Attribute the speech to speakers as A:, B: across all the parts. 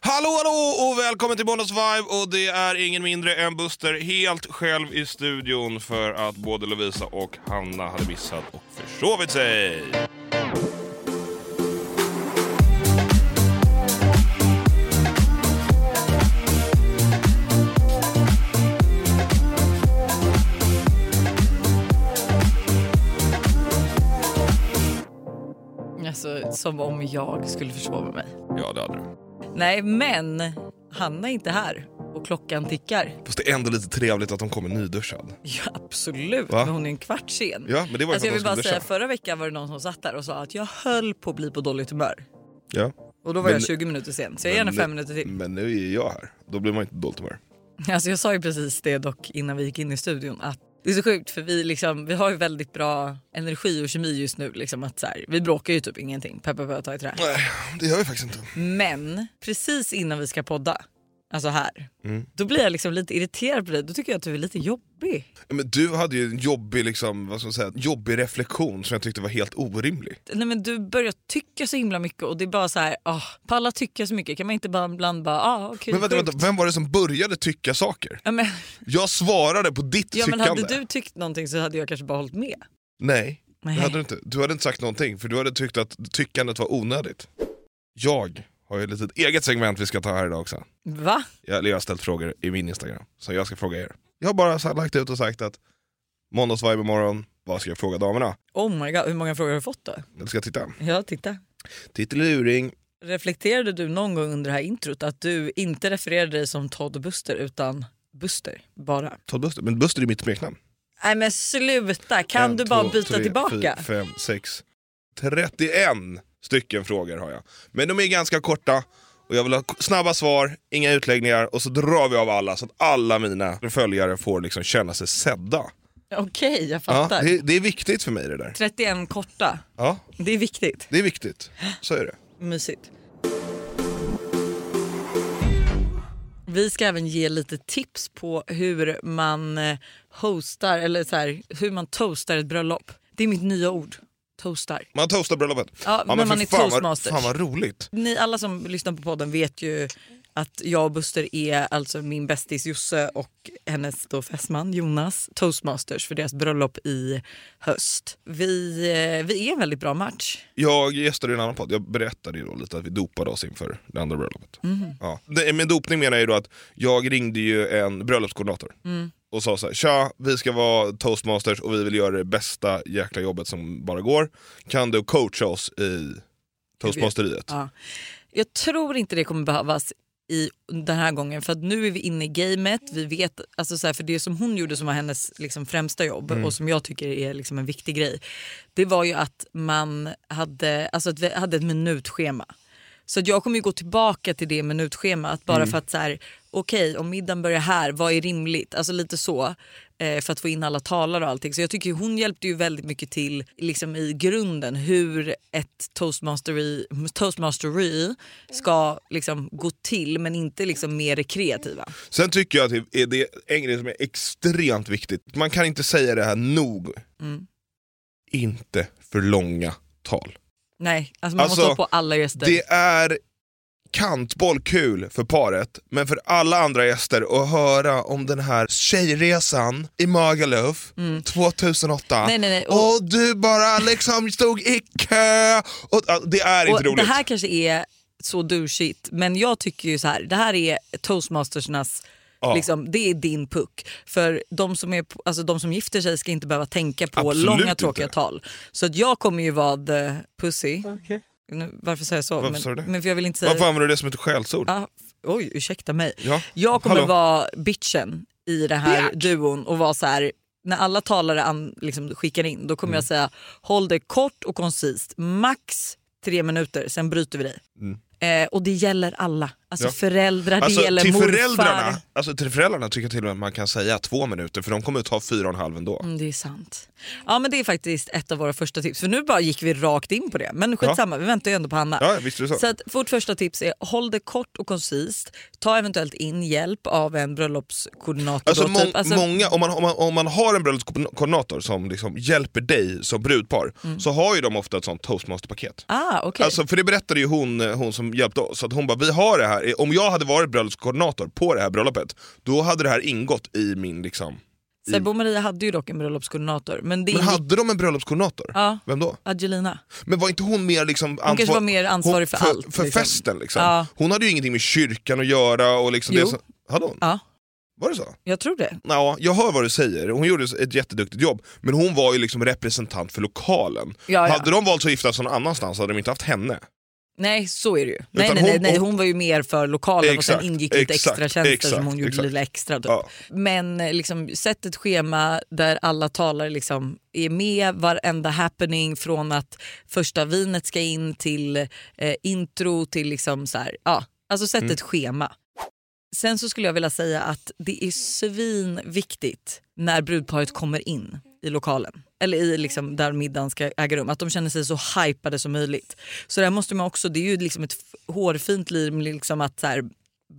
A: Hallå, hallå och välkommen till Bonus Vibe och det är ingen mindre än Buster helt själv i studion för att både Lovisa och Hanna hade missat och försovit sig.
B: Alltså, som om jag skulle försova mig.
A: Ja, det hade du.
B: Nej, men Hanna är inte här och klockan tickar.
A: Fast det är ändå lite trevligt att de kommer nyduschad.
B: Ja, absolut,
A: Va?
B: men hon är en kvart sen.
A: Ja, men det var ju
B: Alltså, jag
A: för
B: vill
A: att de
B: bara
A: skulle
B: säga,
A: duscha.
B: förra veckan var det någon som satt där och sa att jag höll på att bli på dåligt humör.
A: Ja.
B: Och då var
A: Men-
B: jag 20 minuter sen, så jag ger
A: Men
B: henne fem
A: nu-
B: minuter till.
A: Men nu är jag här. Då blir man inte dåligt humör.
B: Alltså, jag sa ju precis det dock innan vi gick in i studion att det är så sjukt för vi, liksom, vi har ju väldigt bra energi och kemi just nu. Liksom, att så här, vi bråkar ju typ ingenting, peppar på ta i trä.
A: Nej, det gör jag faktiskt inte.
B: Men precis innan vi ska podda, alltså här,
A: Mm.
B: då blir jag liksom lite irriterad på dig. Då tycker jag att du är lite jobbig.
A: Men du hade ju en jobbig, liksom, vad ska man säga, jobbig reflektion som jag tyckte var helt orimlig.
B: Nej, men du börjar tycka så himla mycket och det är bara så här, ah, pallar tycka så mycket. Kan man inte bara ibland bara, ah, okej,
A: Men vänta,
B: sjukt.
A: vänta, vem var det som började tycka saker?
B: Ja, men,
A: Jag svarade på ditt
B: ja, men
A: tyckande.
B: hade du tyckt någonting så hade jag kanske bara hållit med.
A: Nej,
B: Nej.
A: det hade du inte. Du hade inte sagt någonting för du hade tyckt att tyckandet var onödigt. Jag har ju ett litet eget segment vi ska ta här idag också.
B: Va?
A: Jag, eller jag har ställt frågor i min Instagram, så jag ska fråga er. Jag har bara så här lagt ut och sagt att måndagsvibe imorgon, vad ska jag fråga damerna?
B: Oh my god, hur många frågor har du fått då?
A: Eller ska jag titta?
B: Ja, titta.
A: Titteluring.
B: Reflekterade du någon gång under det här introt att du inte refererade dig som Todd Buster utan Buster bara?
A: Todd Buster, men Buster är mitt smeknamn.
B: Nej men sluta, kan
A: En,
B: du bara
A: två,
B: byta
A: tre,
B: tillbaka?
A: fyra, fem, sex, 31 stycken frågor har jag. Men de är ganska korta och jag vill ha k- snabba svar, inga utläggningar och så drar vi av alla så att alla mina följare får liksom känna sig sedda.
B: Okej, jag
A: Ja,
B: fattar.
A: det, det är viktigt för mig det där.
B: 31 korta,
A: Ja,
B: det är viktigt.
A: det är viktigt. Så är det.
B: Mysigt. Vi ska även ge lite tips på hur man eh, hostar, eller så här, hur man toastar ett bröllop. Det är mitt nya ord, toastar.
A: Man toastar bröllopet.
B: Ja, men
A: för
B: man är
A: fan, vad,
B: toastmasters.
A: fan vad roligt.
B: Ni alla som lyssnar på podden vet ju att jag och Buster är alltså min bästis Josse och hennes då fästman Jonas toastmasters för deras bröllop i höst. Vi, eh, vi är en väldigt bra match.
A: Jag gästade i en annan podd, jag berättade ju då lite att vi dopade oss inför det andra bröllopet. Ja. Det- Med dopning menar jag ju då att jag ringde ju en bröllopskoordinator och sa så här, tja vi ska vara toastmasters och vi vill göra det bästa jäkla jobbet som bara går. Kan du coacha oss i toastmasteriet?
B: Ja. Jag tror inte det kommer behövas i den här gången för att nu är vi inne i gamet. Vi vet, alltså så här, för det som hon gjorde som var hennes liksom, främsta jobb och som jag tycker är liksom, en viktig grej. Det var ju att man hade, alltså, att vi hade ett minutschema. Så att jag kommer ju gå tillbaka till det minutschemat bara
A: Mm.
B: för att så här, okej om middagen börjar här, vad är rimligt? Alltså lite så. eh, För att få in alla talare och allting. Så jag tycker hon hjälpte ju väldigt mycket till liksom i grunden hur ett toastmastery, toastmastery ska liksom gå till men inte liksom mer det kreativa.
A: Sen tycker jag att det är- det är en grej som är extremt viktigt, man kan inte säga det här nog. Inte för långa tal.
B: Nej, alltså man
A: Alltså,
B: måste ha på alla gäster.
A: Det är kantboll kul för paret, men för alla andra gäster att höra om den här tjejresan i Magaluf 2008.
B: Mm. Nej, nej, nej,
A: Och,
B: och-
A: du bara liksom stod i kö. Och, ja, det är inte
B: och
A: roligt.
B: det här kanske är så douchigt men jag tycker ju så här, det här är toastmastersernas
A: Ja.
B: Liksom, det är din puck. För de som, är, alltså, de som gifter sig ska inte behöva tänka på
A: Absolut
B: långa
A: inte.
B: tråkiga tal. Så att jag kommer ju vara the pussy. Nu, varför säger jag så?
A: Varför
B: men,
A: sa du det?
B: men för jag vill inte säga...
A: Varför använder du det som ett skällsord?
B: Ja, f- oj, ursäkta mig.
A: Ja.
B: Jag kommer
A: Hallå?
B: vara bitchen i den här duon och vara så här. När alla talare an, liksom, skickar in då
A: Mm.
B: kommer jag säga håll det kort och koncist. Max tre minuter, sen bryter vi dig. Eh, och det gäller alla. Alltså
A: Mm. Ja.
B: föräldrar, det gäller
A: till,
B: morfar.
A: föräldrarna, alltså till föräldrarna tycker jag till och med att man kan säga två minuter för de kommer att ta fyra och en halv ändå.
B: Mm, det är sant. Ja men det är faktiskt ett av våra första tips. För nu bara gick vi rakt in på det. Men skitsamma, vi väntar ju ändå på Hanna.
A: Ja, visst är det så.
B: Så att vårt första tips är håll det kort och koncist. Ta eventuellt in hjälp av en bröllopskoordinator.
A: Alltså,
B: då,
A: mång-
B: typ. Alltså,
A: många, om, man, om, man, om man har en bröllopskoordinator som liksom hjälper dig som brudpar
B: Mm.
A: så har ju de ofta ett sånt toastmasterpaket.
B: ah, okej.
A: eh, Alltså, för det berättade ju hon, hon som hjälpte oss, att hon bara vi har det här här, om jag hade varit bröllopskoordinator på det här bröllopet, då hade det här ingått i min... liksom
B: Sebbe och Maria hade ju dock en bröllopskoordinator. Men det
A: Men
B: ingick-
A: hade de en bröllopskoordinator?
B: Ja.
A: Vem då?
B: Angelina.
A: Men var inte hon mer liksom ansvar...
B: kanske var mer ansvarig
A: hon-
B: för allt,
A: För
B: liksom.
A: festen liksom.
B: Ja.
A: Hon hade ju ingenting med kyrkan att göra. Och liksom det
B: Jo.
A: som... Hade hon?
B: Ja,
A: Var det så?
B: jag tror det.
A: Ja, jag hör vad du säger. Hon gjorde ett jätteduktigt jobb, men hon var ju liksom representant för lokalen.
B: Ja, ja.
A: Hade de valt att gifta sig någon annanstans hade de inte haft henne.
B: Nej, så är det ju. Nej,
A: Utan
B: nej, nej,
A: hon-
B: nej,
A: hon-
B: hon var ju mer för lokalen och
A: Exakt,
B: sen ingick lite
A: exakt,
B: extra tjänster
A: exakt,
B: som hon gjorde
A: exakt.
B: lite extra. Typ.
A: Ja.
B: Men eh, liksom, sätt ett schema där alla talare liksom är med varenda happening från att första vinet ska in till eh, intro till liksom så här, ja, alltså sätt ett schema. Sen så skulle jag vilja säga att det är svinviktigt när brudparet kommer in i lokalen eller i liksom där middagen ska äga rum, att de känner sig så hypade som möjligt. Så där måste man också, det är ju liksom ett f- hårfint liv med liksom att så här,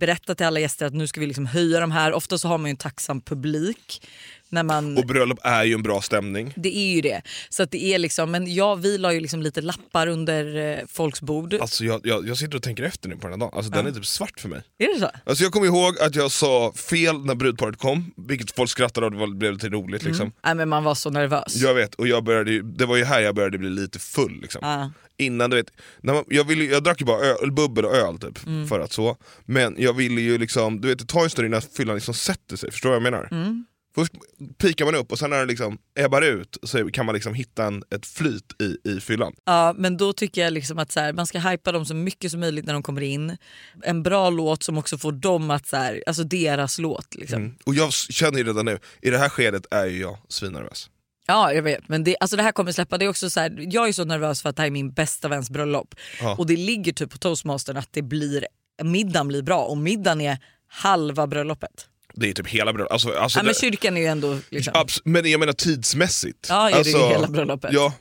B: berätta till alla gäster att nu ska vi liksom höja de här. Ofta så har man ju en tacksam publik. När man,
A: Och bröllop är ju en bra stämning.
B: det är ju det. Så att det är liksom, men ja, vi la ju liksom lite lappar under eh, folks bord.
A: Alltså jag, jag, jag sitter och tänker efter nu på den här dagen, alltså den är typ svart för mig.
B: Är det så?
A: Alltså jag kommer ihåg att jag sa fel när brudparet kom, vilket folk skrattade av, det var- blev lite roligt liksom.
B: Nej, men man var så nervös.
A: Jag vet, och jag började, ju- det var ju här jag började bli lite full. Liksom.
B: Ja.
A: Innan du vet, när man, jag, ville, ju- jag drack ju bara öl, bubbel och öl typ, för att så. Men jag ville ju liksom, du vet det tar ju en stund innan fyllan liksom sätter sig, förstår du vad jag menar? Först pikar man upp och sen när det liksom ebbar ut så kan man liksom hitta en, ett flyt i, i fyllan.
B: Ja, men då tycker jag liksom att så här, man ska hypa dem så mycket som möjligt när de kommer in. En bra låt som också får dem att, så här, alltså deras låt. Liksom.
A: Och jag s- känner ju redan nu, i det här skedet är ju jag svinnervös.
B: Ja, jag vet. Men det, alltså det här kommer släppa. Det är också så här, jag är så nervös för att det här är min bästa väns bröllop.
A: Ja.
B: Och det ligger typ på toastmastern att det blir, middagen blir bra. Och middagen är halva bröllopet.
A: Det är typ hela bröllopet. Alltså, alltså,
B: Ja, men
A: det-
B: kyrkan är ju ändå... Liksom.
A: abs- men jag menar tidsmässigt.
B: Ja, är det
A: Alltså,
B: hela bröllopet.
A: Ja,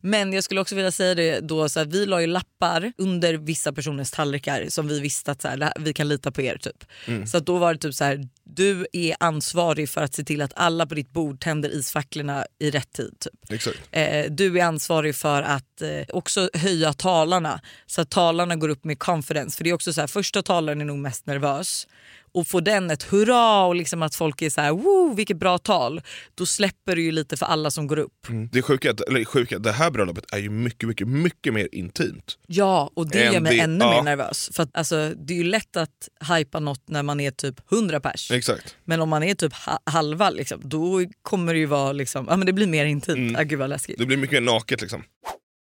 B: Men jag skulle också vilja säga det då, så här, vi la ju lappar under vissa personers tallrikar som vi visste att så här, det här- vi kan lita på er. typ. Så att då var det typ så här, du är ansvarig för att se till att alla på ditt bord tänder isfacklorna i rätt tid. Typ.
A: exakt.
B: Eh, du är ansvarig för att eh, också höja talarna så att talarna går upp med confidence. För det är också så här, första talaren är nog mest nervös. Och får den ett hurra och liksom att folk är så här, wow vilket bra tal. Då släpper det ju lite för alla som går upp.
A: Det sjuka, är att- eller sjuka, det här bröllopet är ju mycket, mycket, mycket mer intimt.
B: Ja, och det gör
A: Än
B: mig
A: det-
B: ännu
A: ja.
B: mer nervös. För att, alltså, det är ju lätt att hypa något när man är typ 100 pers.
A: Exakt.
B: Men om man är typ ha- halva, liksom, då kommer det ju vara liksom, ja, men det blir mer intimt. Ah, gud vad läskigt.
A: Det blir mycket mer naket liksom.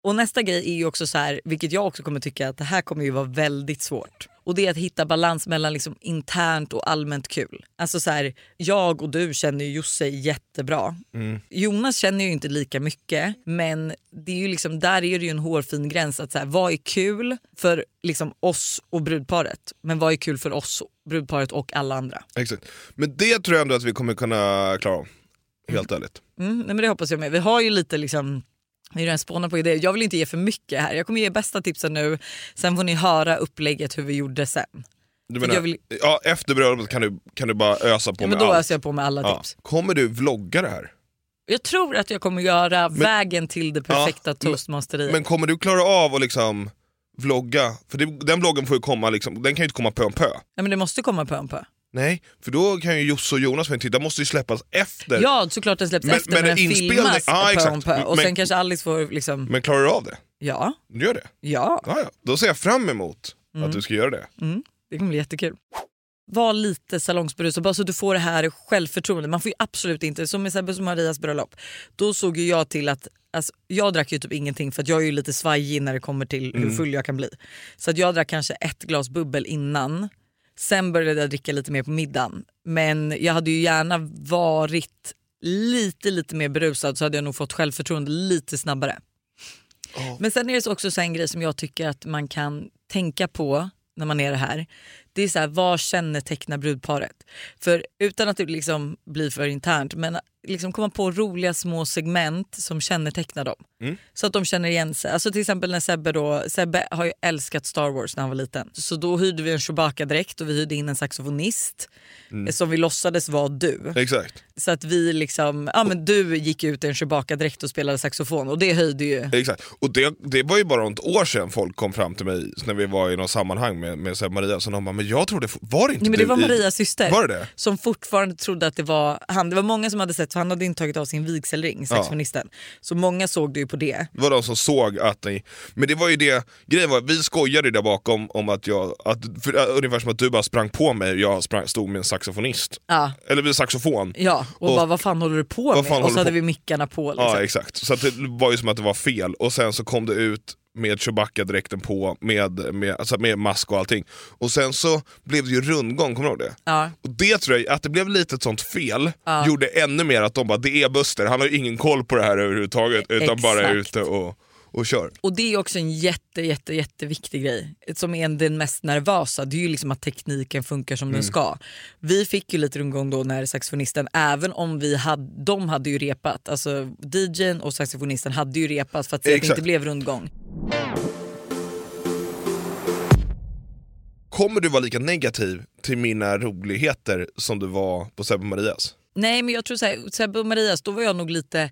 B: Och nästa grej är ju också så här, vilket jag också kommer tycka att det här kommer ju vara väldigt svårt. Och det är att hitta balans mellan liksom internt och allmänt kul. Alltså så här, jag och du känner ju Josse jättebra. Jonas känner ju inte lika mycket men det är ju liksom, där är det ju en hårfin gräns. att så här, Vad är kul för liksom oss och brudparet? Men vad är kul för oss, brudparet och alla andra?
A: Exakt. Men det tror jag ändå att vi kommer kunna klara av. Helt ärligt.
B: Mm, nej men det hoppas jag med. Vi har ju lite liksom vi har redan spånat på idéer. Jag vill inte ge för mycket här. Jag kommer ge bästa tipsen nu. Sen får ni höra upplägget hur vi gjorde sen.
A: Du menar,
B: Jag vill-
A: ja, efter bröllopet kan du, kan du bara ösa på
B: Ja, men
A: med
B: då
A: allt.
B: öser jag på med alla
A: Ja.
B: tips.
A: Kommer du vlogga det här?
B: Jag tror att jag kommer göra vägen till det perfekta toastmasteriet.
A: Men kommer du klara av att liksom vlogga? För det, den vloggen får ju komma liksom, den kan ju inte komma pö om pö.
B: Nej, men det måste komma på en på.
A: Nej, för då kan ju Josse och Jonas, men de måste ju släppas efter.
B: Ja, såklart den släpps
A: Men-
B: efter
A: men
B: men den
A: inspelning-
B: filmas
A: Ja,
B: på
A: exakt.
B: en på. Och
A: Men-
B: sen kanske Alice får liksom,
A: Men klarar du av det?
B: ja,
A: Du gör det?
B: ja.
A: Ja, ja. Då ser jag fram emot
B: Mm.
A: att du ska göra det.
B: Det kommer bli jättekul. Var lite salongsberusad bara så du får det här självförtroendet. Man får ju absolut inte, som i Sebbes och Marias bröllop, då såg ju jag till att Alltså, jag drack ju typ ingenting för att jag är ju lite svajig när det kommer till hur full jag kan bli. Så att jag drack kanske ett glas bubbel innan. Sen började jag dricka lite mer på middagen. Men jag hade ju gärna varit lite lite mer berusad så hade jag nog fått självförtroende lite snabbare. Men sen är det också så en grej som jag tycker att man kan tänka på när man är det här. Det är så här, vad kännetecknar brudparet? För utan att det liksom blir för internt, men liksom komma på roliga små segment som kännetecknar dem. Så att de känner igen sig. Alltså till exempel när Sebbe då, Sebbe har ju älskat Star Wars när han var liten. Så då hyrde vi en Chewbacca-dräkt och vi hyrde in en saxofonist eh, som vi låtsades vara du.
A: Exakt,
B: Så att vi liksom, ja men du gick ut i en Chewbacca-dräkt och spelade saxofon och det höjde ju.
A: exakt. Och det, det var ju bara något år sedan folk kom fram till mig när vi var i något sammanhang med, med så här Maria, så de bara, men jag trodde, var det inte
B: Nej, men
A: du
B: det var
A: Typ i-
B: Marias syster
A: Var det det?
B: som fortfarande trodde att det var han. Det var många som hade sett, för han hade inte tagit av sin vigselring, saxofonisten. Så många såg det ju på det.
A: Det var de som såg att ni... Men det var ju det, grejen var att vi skojade ju där bakom om att jag, att, för, äh, ungefär som att du bara sprang på mig och jag sprang, stod med en saxofonist.
B: Ja,
A: Eller med saxofon.
B: ja. och,
A: Och-
B: bara vad fan håller du på
A: Vad
B: med?
A: fan
B: och
A: håller
B: så hade
A: på-
B: vi mickarna på. Liksom.
A: Ja exakt, så att det var ju som att det var fel och sen så kom det ut med Chewbacca-dräkten på, med, med, alltså med mask och allting. Och sen så blev det ju rundgång, kommer du ihåg det?
B: Ja.
A: Och det tror jag, att det blev lite ett sånt fel, gjorde ännu mer att de bara det är Buster, han har ju ingen koll på det här överhuvudtaget utan bara är
B: Exakt.
A: ute och, och kör.
B: Och det är också en jätte, jätte, jätteviktig grej som är den mest nervösa. Det är ju liksom att tekniken funkar som den
A: Mm.
B: ska. Vi fick ju lite rundgång då när saxofonisten, även om vi hade, de hade ju repat, alltså DJn och saxofonisten hade ju repat för att se att det
A: Exakt.
B: inte blev rundgång.
A: Kommer du vara lika negativ till mina roligheter som du var på Sebbe och Marias?
B: Nej men jag tror så här, Sebbe och Marias, då var jag nog lite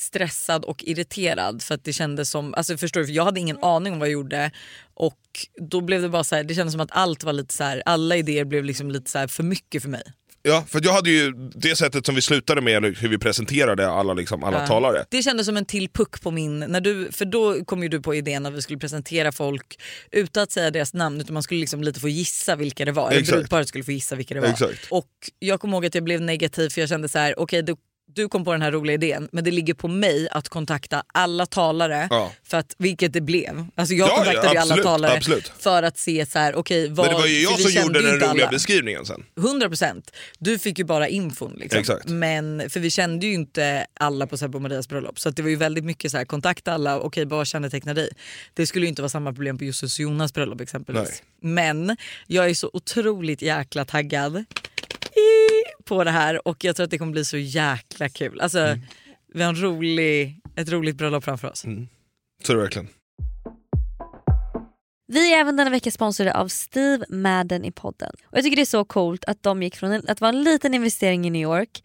B: stressad och irriterad för att det kändes som, alltså förstår du, för jag hade ingen aning om vad jag gjorde och då blev det bara så här, det kändes som att allt var lite så här, alla idéer blev liksom lite så här för mycket för mig.
A: Ja, för jag hade ju det sättet som vi slutade med, eller hur vi presenterade alla, liksom, alla
B: Ja.
A: talare.
B: Det kändes som en till puck på min... När du, för då kom ju du på idén att vi skulle presentera folk utan att säga deras namn utan man skulle liksom lite få gissa vilka det var. Eller
A: Exakt.
B: brudparet skulle få gissa vilka det var.
A: Exakt.
B: Och jag kommer ihåg att jag blev negativ för jag kände så här, okej du, du kom på den här roliga idén men det ligger på mig att kontakta alla talare.
A: Ja.
B: För att, vilket det blev. Alltså jag
A: Ja, ja,
B: kontaktade ju alla
A: absolut,
B: talare
A: absolut.
B: för att se så här, okej vad...
A: Men det var ju
B: för
A: jag
B: vi
A: som gjorde
B: kände ju
A: den
B: inte
A: roliga
B: alla.
A: beskrivningen sen.
B: 100 procent. Du fick ju bara infon. Liksom.
A: Exakt.
B: Men, för vi kände ju inte alla på Sebbe och Marias bröllop. Så att det var ju väldigt mycket så här, kontakta alla, okej bara känneteckna dig. Det skulle ju inte vara samma problem på Justus och Jonas bröllop exempelvis. Men jag är så otroligt jäkla taggad i- på det här och jag tror att det kommer bli så jäkla kul. Alltså, Vi har en rolig, ett roligt bröllop framför oss.
A: Så är det verkligen.
C: Vi är även denna vecka sponsrade av Steve Madden i podden. Och jag tycker det är så coolt att de gick från en, att vara en liten investering i New York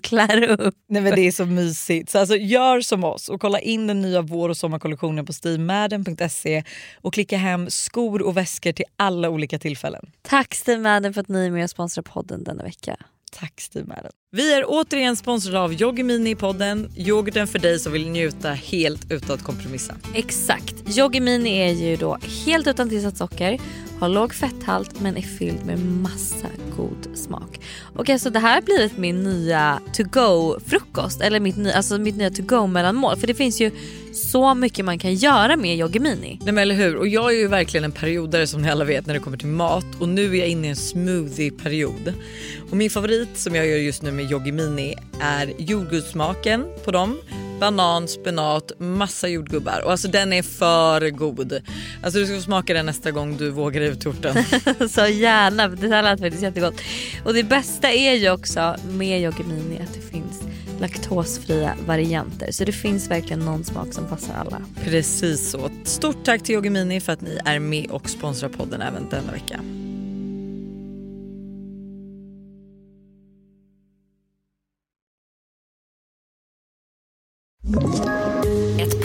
C: klär upp.
B: Nej men det är så mysigt. Så alltså, gör som oss och kolla in den nya vår och sommarkollektionen på steamadden.se och klicka hem skor och väskor till alla olika tillfällen.
C: Tack Steve Madden för att ni är med och sponsrar podden denna vecka.
B: Tack Steve Madden. Vi är återigen sponsrade av Yoggi Mini i podden. Yoghurten för dig som vill njuta helt utan att kompromissa.
C: Exakt. Yogi Mini är ju då helt utan tillsatt socker, har låg fetthalt men är fylld med massa god smak. Och alltså det här har blivit min nya to-go-frukost, eller mitt, ny, alltså mitt nya to-go-mellanmål. För det finns ju så mycket man kan göra med Yogi Mini.
B: Nej men eller hur? Och jag är ju verkligen en periodare som ni alla vet när det kommer till mat och nu är jag inne i en smoothie-period. Och min favorit som jag gör just nu med Yoggi Mini är jordgubbssmaken på dem. Banan, spenat, massa jordgubbar och alltså den är för god. Alltså du ska få smaka den nästa gång du vågar ut torten.
C: Så gärna, för det här lät faktiskt jättegott. Och det bästa är ju också med Yogi Mini att det finns laktosfria varianter. Så det finns verkligen någon smak som passar alla.
B: Precis så. Stort tack till Yoggi Mini för att ni är med och sponsrar podden även denna vecka.
D: Ett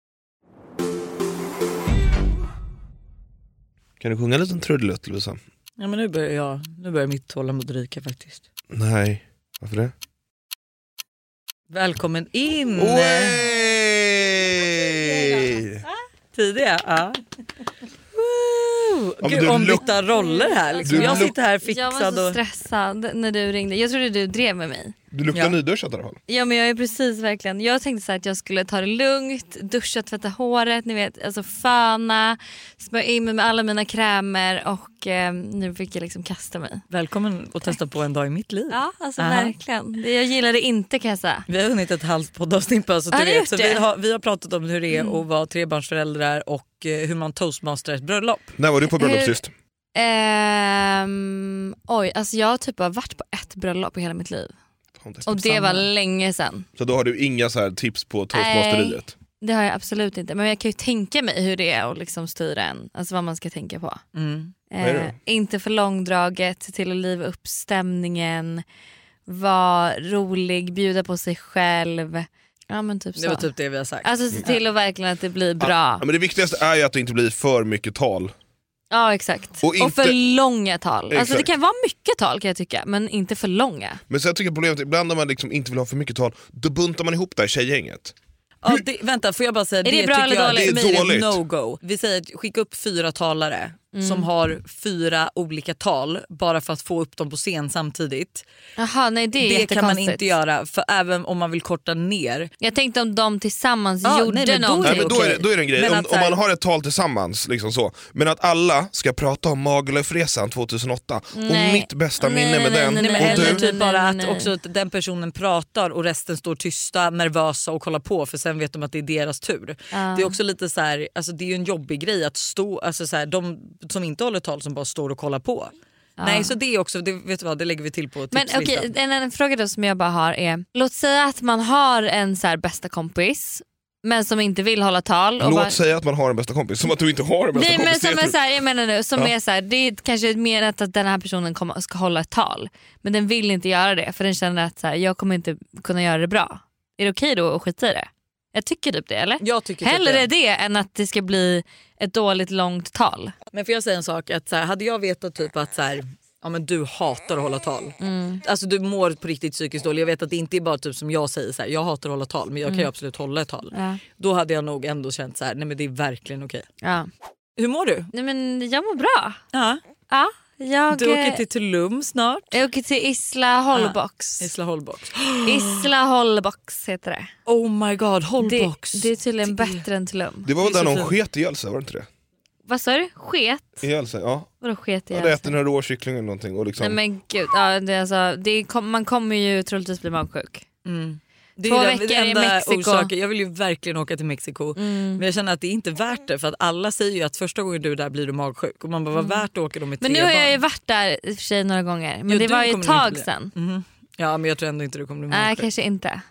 A: Kan du sjunga en liten trudelutt Lovisa?
B: Ja, men nu börjar, jag, nu börjar mitt tålamod ryka faktiskt.
A: Nej, varför det?
B: Välkommen in!
A: Oj!
B: Tidiga? Ja. Woo!
A: men
B: Gud,
A: du
B: ombytta roller här. Liksom.
A: du
B: Jag
A: luk-
B: sitter här
C: Mm, Jag var
B: fixad
C: så
B: och...
C: stressad när du ringde. Jag trodde du drev med mig.
A: Du luktar
B: Ja.
A: nyduschat i alla fall.
C: Ja men jag är precis verkligen, jag tänkte så här att jag skulle ta det lugnt, duscha, tvätta håret, ni vet alltså föna, smörja in mig med alla mina krämer och eh, nu fick jag liksom kasta mig.
B: Välkommen och testa på en dag i mitt liv.
C: Ja alltså
B: Aha.
C: verkligen, Det- jag gillar det inte kan jag säga.
B: Vi har hunnit ett halvt poddavsnitt på oss.
C: Har
B: du
C: ni
B: vet.
C: gjort
B: Så
C: det? Mm.
B: vi, har, vi har pratat om hur det är att vara trebarnsföräldrar och eh, hur man toastmasterar ett bröllop.
A: När var du på bröllop
B: Eh,
C: Hur-
A: sist?
C: Ehm, oj, alltså jag har typ bara varit på ett bröllop i hela mitt liv
A: Fan, det-
C: och det var
B: samma.
C: länge sedan.
A: Så då har du inga så här tips på toastmasteriet?
C: Det har jag absolut inte men jag kan ju tänka mig hur det är att liksom styra en, alltså vad man ska tänka på.
B: Mm.
A: är det
C: Eh, inte för långdraget, se till att liva upp stämningen, vara rolig, bjuda på sig själv. Ja men typ
B: Det
C: så.
B: var typ det vi har sagt.
C: Alltså se till att verkligen att det blir
A: Ja,
C: bra.
A: men det viktigaste är ju att det inte blir för mycket tal.
C: Ja exakt.
A: Och
C: Och,
A: inte-
C: för långa tal. Alltså det
A: Exakt.
C: kan vara mycket tal kan jag tycka men inte för långa.
A: Men sen tycker jag problemet är ibland när man liksom inte vill ha för mycket tal, då buntar man ihop det här tjejgänget.
B: Ja, det, vänta, får jag bara säga
C: det bra
B: tycker
C: eller
B: jag,
C: dåligt?
B: För mig är det
A: Det är dåligt.
B: no-go. Vi säger att skicka upp fyra talare
C: Mm.
B: som har fyra olika tal bara för att få upp dem på scen samtidigt.
C: Jaha nej det är
B: Det kan man
C: jättekonstigt.
B: inte göra för även om man vill korta ner.
C: Jag tänkte om de tillsammans
B: Ja,
C: gjorde
B: nej, men då är
C: någonting.
A: Nej,
B: det
A: men då, är det,
B: okej.
A: då är det en grej,
B: Men
A: om,
B: att så
A: om
B: här-
A: man har ett tal tillsammans, liksom så. men att alla ska prata om Magalufresan 2008
C: Nej.
A: och mitt bästa
C: Nej,
A: minne med
C: nej,
A: den
C: nej, nej,
B: Nej,
A: och
B: men eller
C: nej,
A: du.
C: nej,
B: typ bara att
C: nej.
B: också att den personen pratar och resten står tysta, nervösa och kollar på för sen vet de att det är deras tur. Det är också lite så här, alltså det är ju en jobbig grej att stå, alltså så här, de som inte håller tal som bara står och kollar på. Nej så det är också, det, vet du vad, det lägger vi till på
C: Men
B: tipslistan.
C: okej, en, en fråga då som jag bara har är, låt säga att man har en så här bästa kompis men som inte vill hålla tal. Och
A: Låt
C: bara,
A: säga att man har en bästa kompis, som att du inte har en bästa
C: Nej men
A: kompis.
C: som
A: Det
C: är
A: är- typ-
C: så här, jag menar nu, som
A: Ja.
C: är så här, det är kanske mer att att den här personen kommer, ska hålla ett tal men den vill inte göra det för den känner att så här, jag kommer inte kunna göra det bra. Är det okej då att skita i det? Jag tycker typ det eller?
B: Jag tycker typ
C: Hellre
B: det.
C: det. än att det ska bli ett dåligt långt tal.
B: Men får jag säga en sak? Att så här, hade jag vetat typ att så här, ja, men du hatar att hålla tal.
C: Mm.
B: Alltså du mår på riktigt psykiskt dåligt. Jag vet att det inte är bara typ som jag säger så här, jag hatar att hålla tal men jag kan ju absolut hålla ett tal.
C: Mm. Ja.
B: Då hade jag nog ändå känt så här, nej men det är verkligen okej.
C: Ja.
B: Hur mår du?
C: Nej men jag mår bra.
B: Ja.
C: Ja, jag,
B: Du åker
C: eh,
B: till Tulum snart.
C: jag åker till Isla Holbox.
B: Isla Holbox.
C: Isla Holbox heter det.
B: Oh my god,
C: Det,
B: Holbox.
C: det är tydligen bättre än Tulum.
A: Det var väl
B: Det är
A: där
B: så
A: någon
B: fint.
A: sket ihjäl sig, var det inte det?
C: Vad sa du? Sket?
A: Ihjäl sig, ja.
C: Vadå sket i
A: Jag
C: halsen?
A: hade ätit några rå kyckling eller någonting och liksom...
C: Nej men gud, ja, det är alltså, det är, kom- man kommer ju troligtvis bli magsjuk.
B: Det
C: Två
B: ju den
C: veckor i
B: enda
C: Mexiko. Mm.
B: orsaken. Jag vill ju verkligen åka till Mexiko men jag känner att det är inte värt det för att alla säger ju att första gången du är där blir du magsjuk och man bara vad värt att åka då med
C: Mm. Men
B: tre
C: nu har
B: barn.
C: jag ju varit där i och för sig några gånger men
B: Jo,
C: det
B: du
C: var ju
B: kommer
C: ett
B: nog inte
C: tag
B: bli-
C: sedan.
B: Mhm. Ja men jag tror ändå inte du kommer bli
C: Nej
B: magsjuk.
C: kanske inte.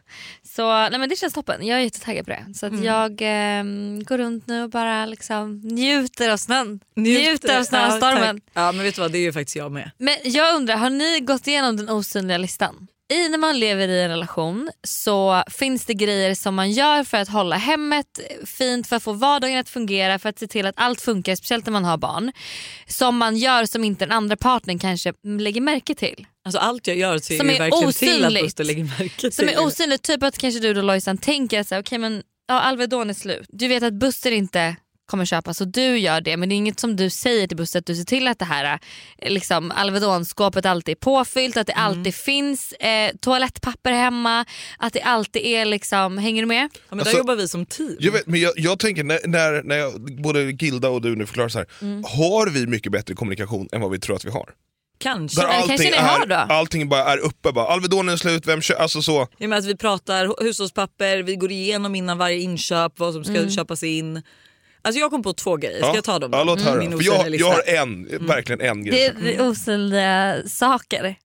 C: Så nej, men det känns toppen, jag är jättetaggad på det. Så
B: Mm.
C: att jag ehm, går runt nu och bara liksom njuter av snön. Njuter, av snöstormen.
B: Ja, tack. ja men vet du vad det är ju faktiskt jag med.
C: Men jag undrar, har ni gått igenom den osynliga listan? I när man lever i en relation så finns det grejer som man gör för att hålla hemmet fint, för att få vardagen att fungera, för att se till att allt funkar, speciellt när man har barn. Som man gör som inte den andra partnern kanske lägger märke till.
B: Alltså allt jag gör ser
C: Som
B: ju
C: är
B: verkligen till att
C: osynligt.
B: Buster lägger märke
C: Som
B: till.
C: är osynligt, typ att kanske du då Lojsan tänker att okay, men, ja, Alvedon är slut. Du vet att Buster inte kommer köpa så du gör det men det är inget som du säger till Buster att du ser till att det här eh, liksom, Alvedonskåpet alltid är påfyllt, att det alltid finns eh, toalettpapper hemma, att det alltid är liksom, hänger du med?
B: ja, men där
A: Alltså-
B: jobbar vi som team.
A: Jag, vet, men jag, jag tänker när, när, när
C: Mm.
A: jag, både Gilda och du nu förklarar så här. har vi mycket bättre kommunikation än vad vi tror att vi har?
B: Kanske.
A: Där
C: det kanske
A: allting,
C: ni har
A: är,
C: då?
A: allting bara är uppe. Bara, Alvedonen är slut, vem kör? Alltså så.
B: Jag menar att vi pratar hushållspapper, vi går igenom innan varje inköp vad som ska
C: Mm.
B: köpas in. Alltså jag kom på två grejer, ska jag ta dem? Mm.
A: Ja, låt höra.
B: Min Mm.
A: För jag,
B: osynliga
A: jag har
B: lista.
A: en, verkligen en grej.
C: Det är osynliga saker.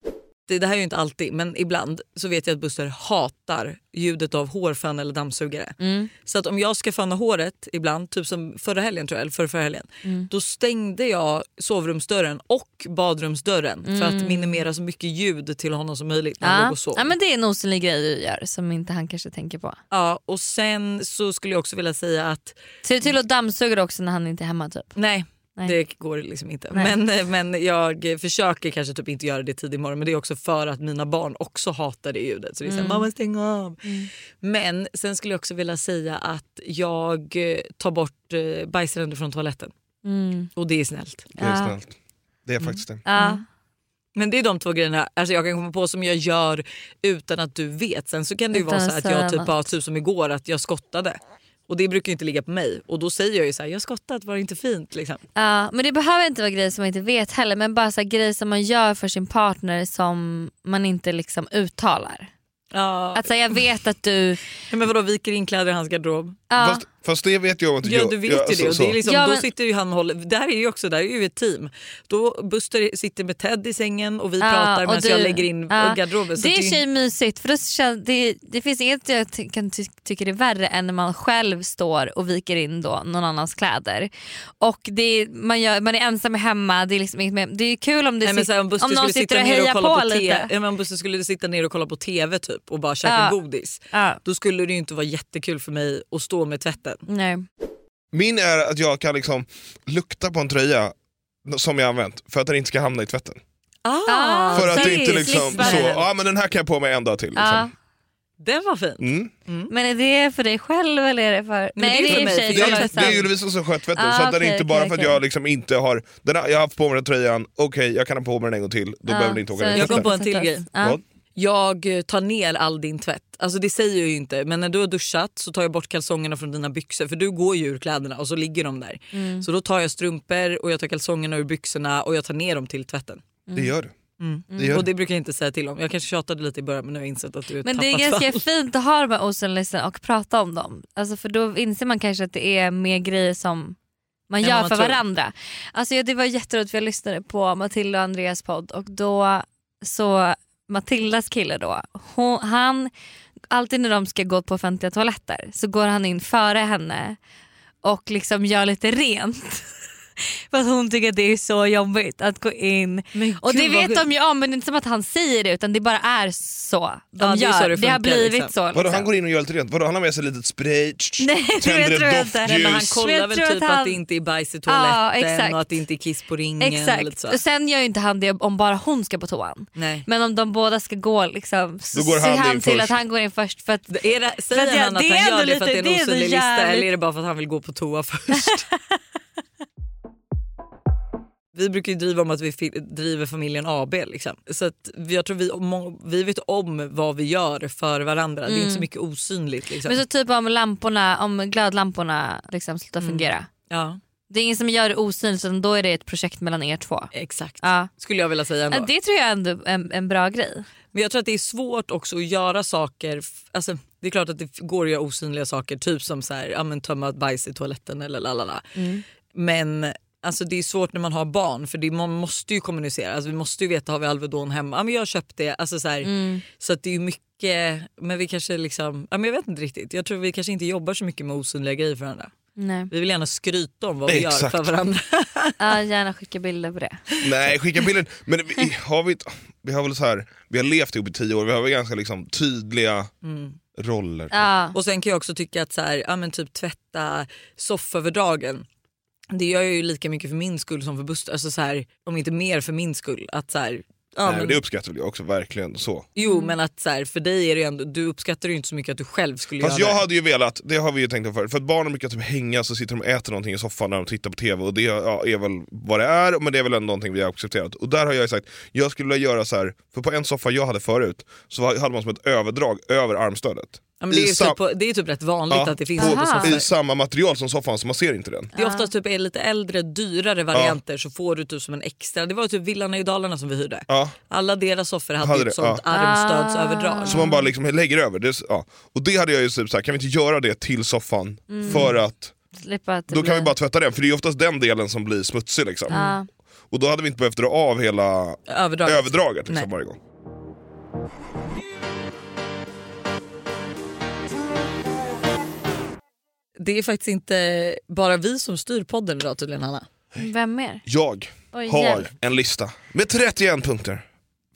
B: det, det här är ju inte alltid, men ibland så vet jag att Buster hatar ljudet av hårfön eller dammsugare.
C: Mm.
B: Så att om jag ska föna håret ibland, typ som förra helgen tror jag, eller förra, förra helgen,
C: Mm.
B: då stängde jag sovrumsdörren och badrumsdörren för att minimera så mycket ljud till honom som möjligt när han låg
C: Mm. Ja.
B: och sov.
C: ja men det är en osynlig grej du gör som inte han kanske tänker på.
B: Ja, och sen så skulle jag också vilja säga att
C: Ser du till att dammsuga också när han inte är hemma typ?
B: Nej,
C: Nej.
B: det går liksom inte.
C: Nej.
B: Men, men jag försöker kanske typ inte göra det tidig morgon men det är också för att mina barn också hatar det ljudet. Så det är
C: Mm.
B: såhär, mamma stäng av. Men sen skulle jag också vilja säga att jag eh, tar bort eh, bajsränder från toaletten.
C: Mm.
B: Och det är snällt.
A: Det är
C: Ja.
A: snällt. Det är faktiskt det.
C: Ja.
B: Men det är de två grejerna alltså jag kan komma på som jag gör utan att du vet. Sen så kan det ju
C: Utan
B: vara så
C: att
B: här att jag
C: säga
B: typ
C: något.
B: har typ som igår att jag skottade. Och det brukar ju inte ligga på mig. Och då säger jag ju så här, jag har skottat, var det inte fint? Liksom.
C: Ja, men det behöver inte vara grejer som man inte vet heller men bara så här grejer som man gör för sin partner som man inte liksom uttalar.
B: Ja.
C: Att säga jag vet att du...
B: Nej, Men vadå, viker in kläder i hans garderob?
C: Ja.
A: Fast, fast det vet jag om att
B: Ja
A: jag-
B: du vet
A: jag-
B: ju
A: så-
B: det. Och det
A: så.
B: är liksom,
C: Ja,
B: då
C: men-
B: sitter ju han och håller, där är ju också där är ju ett team. Då Buster sitter med Ted i sängen och vi
C: Ja,
B: pratar
C: och
B: medan
C: du-
B: jag lägger in
C: ja.
B: garderoben. Så
C: Det är i
B: ju-
C: och för sig mysigt för då kän- det, det finns inget jag ty- kan ty- tycka är värre än när man själv står och viker in då någon annans kläder. Och det är, man, gör, man är ensam hemma, det är, liksom inget mer, det är kul om, det
B: Nej, men så här, om Buster
C: om någon
B: skulle
C: sitter
B: sitta
C: och
B: ner och
C: hejar
B: kolla
C: på,
B: på, te-
C: lite.
B: ja, men om Buster skulle sitta ner och kolla på TV typ och bara käka
C: Ja.
B: godis.
C: Ja.
B: Då skulle det ju inte vara jättekul för mig att stå med tvätten.
C: Nej.
A: Min är att jag kan liksom lukta på en tröja som jag använt för att den inte ska hamna i tvätten.
C: Ah,
A: för att
C: så
A: det inte
C: är
A: liksom
C: slipsar
A: så,
C: den.
A: ja men den här kan jag på mig en dag till.
C: Ja.
A: Liksom.
B: Den var fin.
A: Mm.
C: Men är det för dig själv eller är det för...
B: men det är för
C: i och
B: mig,
C: för sig
B: för jag
C: Lotta
A: Det, det är ju
C: Sand.
A: Lovisa som sköt tvätten
C: Ah,
A: så att den
C: okej,
A: inte
C: okej,
A: bara för att
C: okej.
A: jag liksom inte har, den har, jag har haft på mig den här tröjan, okej jag kan ha på mig den en gång till, då
C: Ja,
A: behöver den inte åka
C: så-
A: ner i
B: Jag kom
A: tvätten.
B: på en till grej.
C: Ja.
A: Vad?
B: Jag eh, tar ner all din tvätt. Alltså det säger jag ju inte men när du har duschat så tar jag bort kalsongerna från dina byxor för du går ju ur kläderna och så ligger de där.
C: Mm.
B: Så då tar jag strumpor och jag tar kalsongerna ur byxorna och jag tar ner dem till tvätten.
C: Mm.
A: Det gör du. Det gör
B: Och
A: du.
B: det brukar jag inte säga till om. Jag kanske tjatade lite i början men nu har jag insett att du
C: Men
B: tappat
C: det är ganska
B: allt.
C: fint att ha de här osynliga och prata om dem. Alltså för då inser man kanske att det är mer grejer som man
B: Än
C: gör
B: vad man
C: för
B: tror.
C: varandra. Alltså ja, det var jätteroligt för jag lyssnade på Matilda och Andreas podd och då så Matildas kille då, hon, han, alltid när de ska gå på offentliga toaletter så går han in före henne och liksom gör lite rent. För att hon tycker att det är så jobbigt att gå in.
B: Men
C: och
B: gud,
C: det
B: vad
C: vet de ju om men det är inte som att han säger det utan det bara är så de
B: Ja, det är
C: gör.
B: så det
C: det, har
B: funkar,
C: blivit
B: liksom.
C: så.
A: Vadå han
C: liksom.
A: går in och gör lite rent? Vadå han har med sig litet spray, tsch, tsch,
C: Nej, det
A: tänder
C: tror jag
A: ett
C: inte. Nej,
B: Men han
A: doftljus.
C: Men
B: kollar
C: jag
B: väl
C: tror
B: typ
C: att
B: att,
C: han-
B: det inte är bajs i
C: Ja,
B: toaletten
C: exakt.
B: och att det inte är kiss på ringen. Och lite
C: Exakt.
B: så.
C: Och sen gör ju inte han det om bara hon ska på toan.
B: Nej.
C: Men om de båda ska gå liksom, så
A: Då går
C: ser
A: han
C: han
A: in
C: till
A: först.
C: att han går in först. För att,
B: Är det,
C: För att
B: säger
C: jag-
B: han att
C: det är
B: han
C: ändå
B: gör det för att det är
C: lite-
B: en
C: det är
B: osynlig
C: ändå
B: lista
C: jävligt-
B: eller är det bara för att han vill gå på toa först? Vi brukar ju driva om att vi fi- driver familjen AB. Liksom. Så att vi- jag tror vi, må- vi vet om vad vi gör för varandra. Det är inte så mycket osynligt. Liksom.
C: Mm. men så typ om lamporna, om glödlamporna liksom slutar
B: Mm.
C: fungera.
B: Ja,
C: Det är ingen som gör det osynligt utan då är det ett projekt mellan er två.
B: exakt.
C: Ja.
B: Skulle jag vilja säga ändå.
C: Ja, Det tror jag ändå är en, en bra grej.
B: Men jag tror att det är svårt också att göra saker. f- Alltså, det är klart att det f- går att göra osynliga saker, typ som så här, ja, men tömma ett bajs i toaletten eller lalala. Men alltså, det är svårt när man har barn för det, man måste ju kommunicera. Alltså, vi måste ju veta, har vi Alvedon hemma? Ja, men jag har köpt det. Alltså, så här, så att det är ju mycket, men vi kanske liksom, ja, men jag vet inte riktigt. Jag tror vi kanske inte jobbar så mycket med osynliga grejer för varandra.
C: Nej.
B: Vi vill gärna skryta om vad vi gör
A: Exakt.
B: för varandra.
C: Ja, gärna skicka bilder på det.
A: Nej, skicka bilder. Men vi har, vi, vi har väl så här, vi har levt ihop i tio år, vi har väl ganska liksom tydliga roller.
C: Ja.
B: Och sen kan jag också tycka att så här, ja, men typ tvätta sofföverdragen. Det gör jag ju lika mycket för min skull som för Buster. Alltså så här, om inte mer för min skull. Att så här, ja,
A: Nej, men
B: men,
A: det uppskattar väl jag också, verkligen så.
B: jo men att så här, för dig är det ju ändå, du uppskattar det ju inte så mycket att du själv skulle
A: Fast
B: göra
A: jag
B: det.
A: hade ju velat, det har vi ju tänkt om förut, för att barnen brukar typ hänga så sitter de och äter någonting i soffan när de tittar på TV och det ja, är väl vad det är, men det är väl ändå någonting vi har accepterat. Och där har jag ju sagt, jag skulle vilja göra så här, för på en soffa jag hade förut så hade man som ett överdrag över armstödet.
B: Ja, men det, är
A: i
B: ju
A: sam-
B: typ, på- det är typ rätt vanligt
A: Ja,
B: att det finns
A: på-
B: det på
C: Aha.
B: soffor.
A: i samma material som soffan så man ser inte den.
B: Det är oftast typ är lite äldre, dyrare varianter så får du typ som en extra. Det var ju typ Villarna i Dalarna som vi hyrde.
A: Ja.
B: Alla deras soffor hade,
A: Hade
B: ju
A: det,
B: ett sånt
A: ja.
B: armstödsöverdrag.
A: Så man bara liksom lägger över. Det, är- ja. Och det hade jag ju typ såhär, kan vi inte göra det till soffan?
B: Mm.
A: För att
C: Slippa att det
A: då
C: blir-
A: kan vi bara tvätta den, för det är ju oftast den delen som blir smutsig liksom.
C: Ja.
A: Och då hade vi inte behövt dra av hela
B: Överdraget.
A: överdraget liksom,
B: Nej.
A: varje gång.
B: Det är faktiskt inte bara vi som styr podden idag tydligen Hanna.
C: Vem mer?
A: Jag
C: Oj,
A: har
C: hjälp.
A: en lista med 31 punkter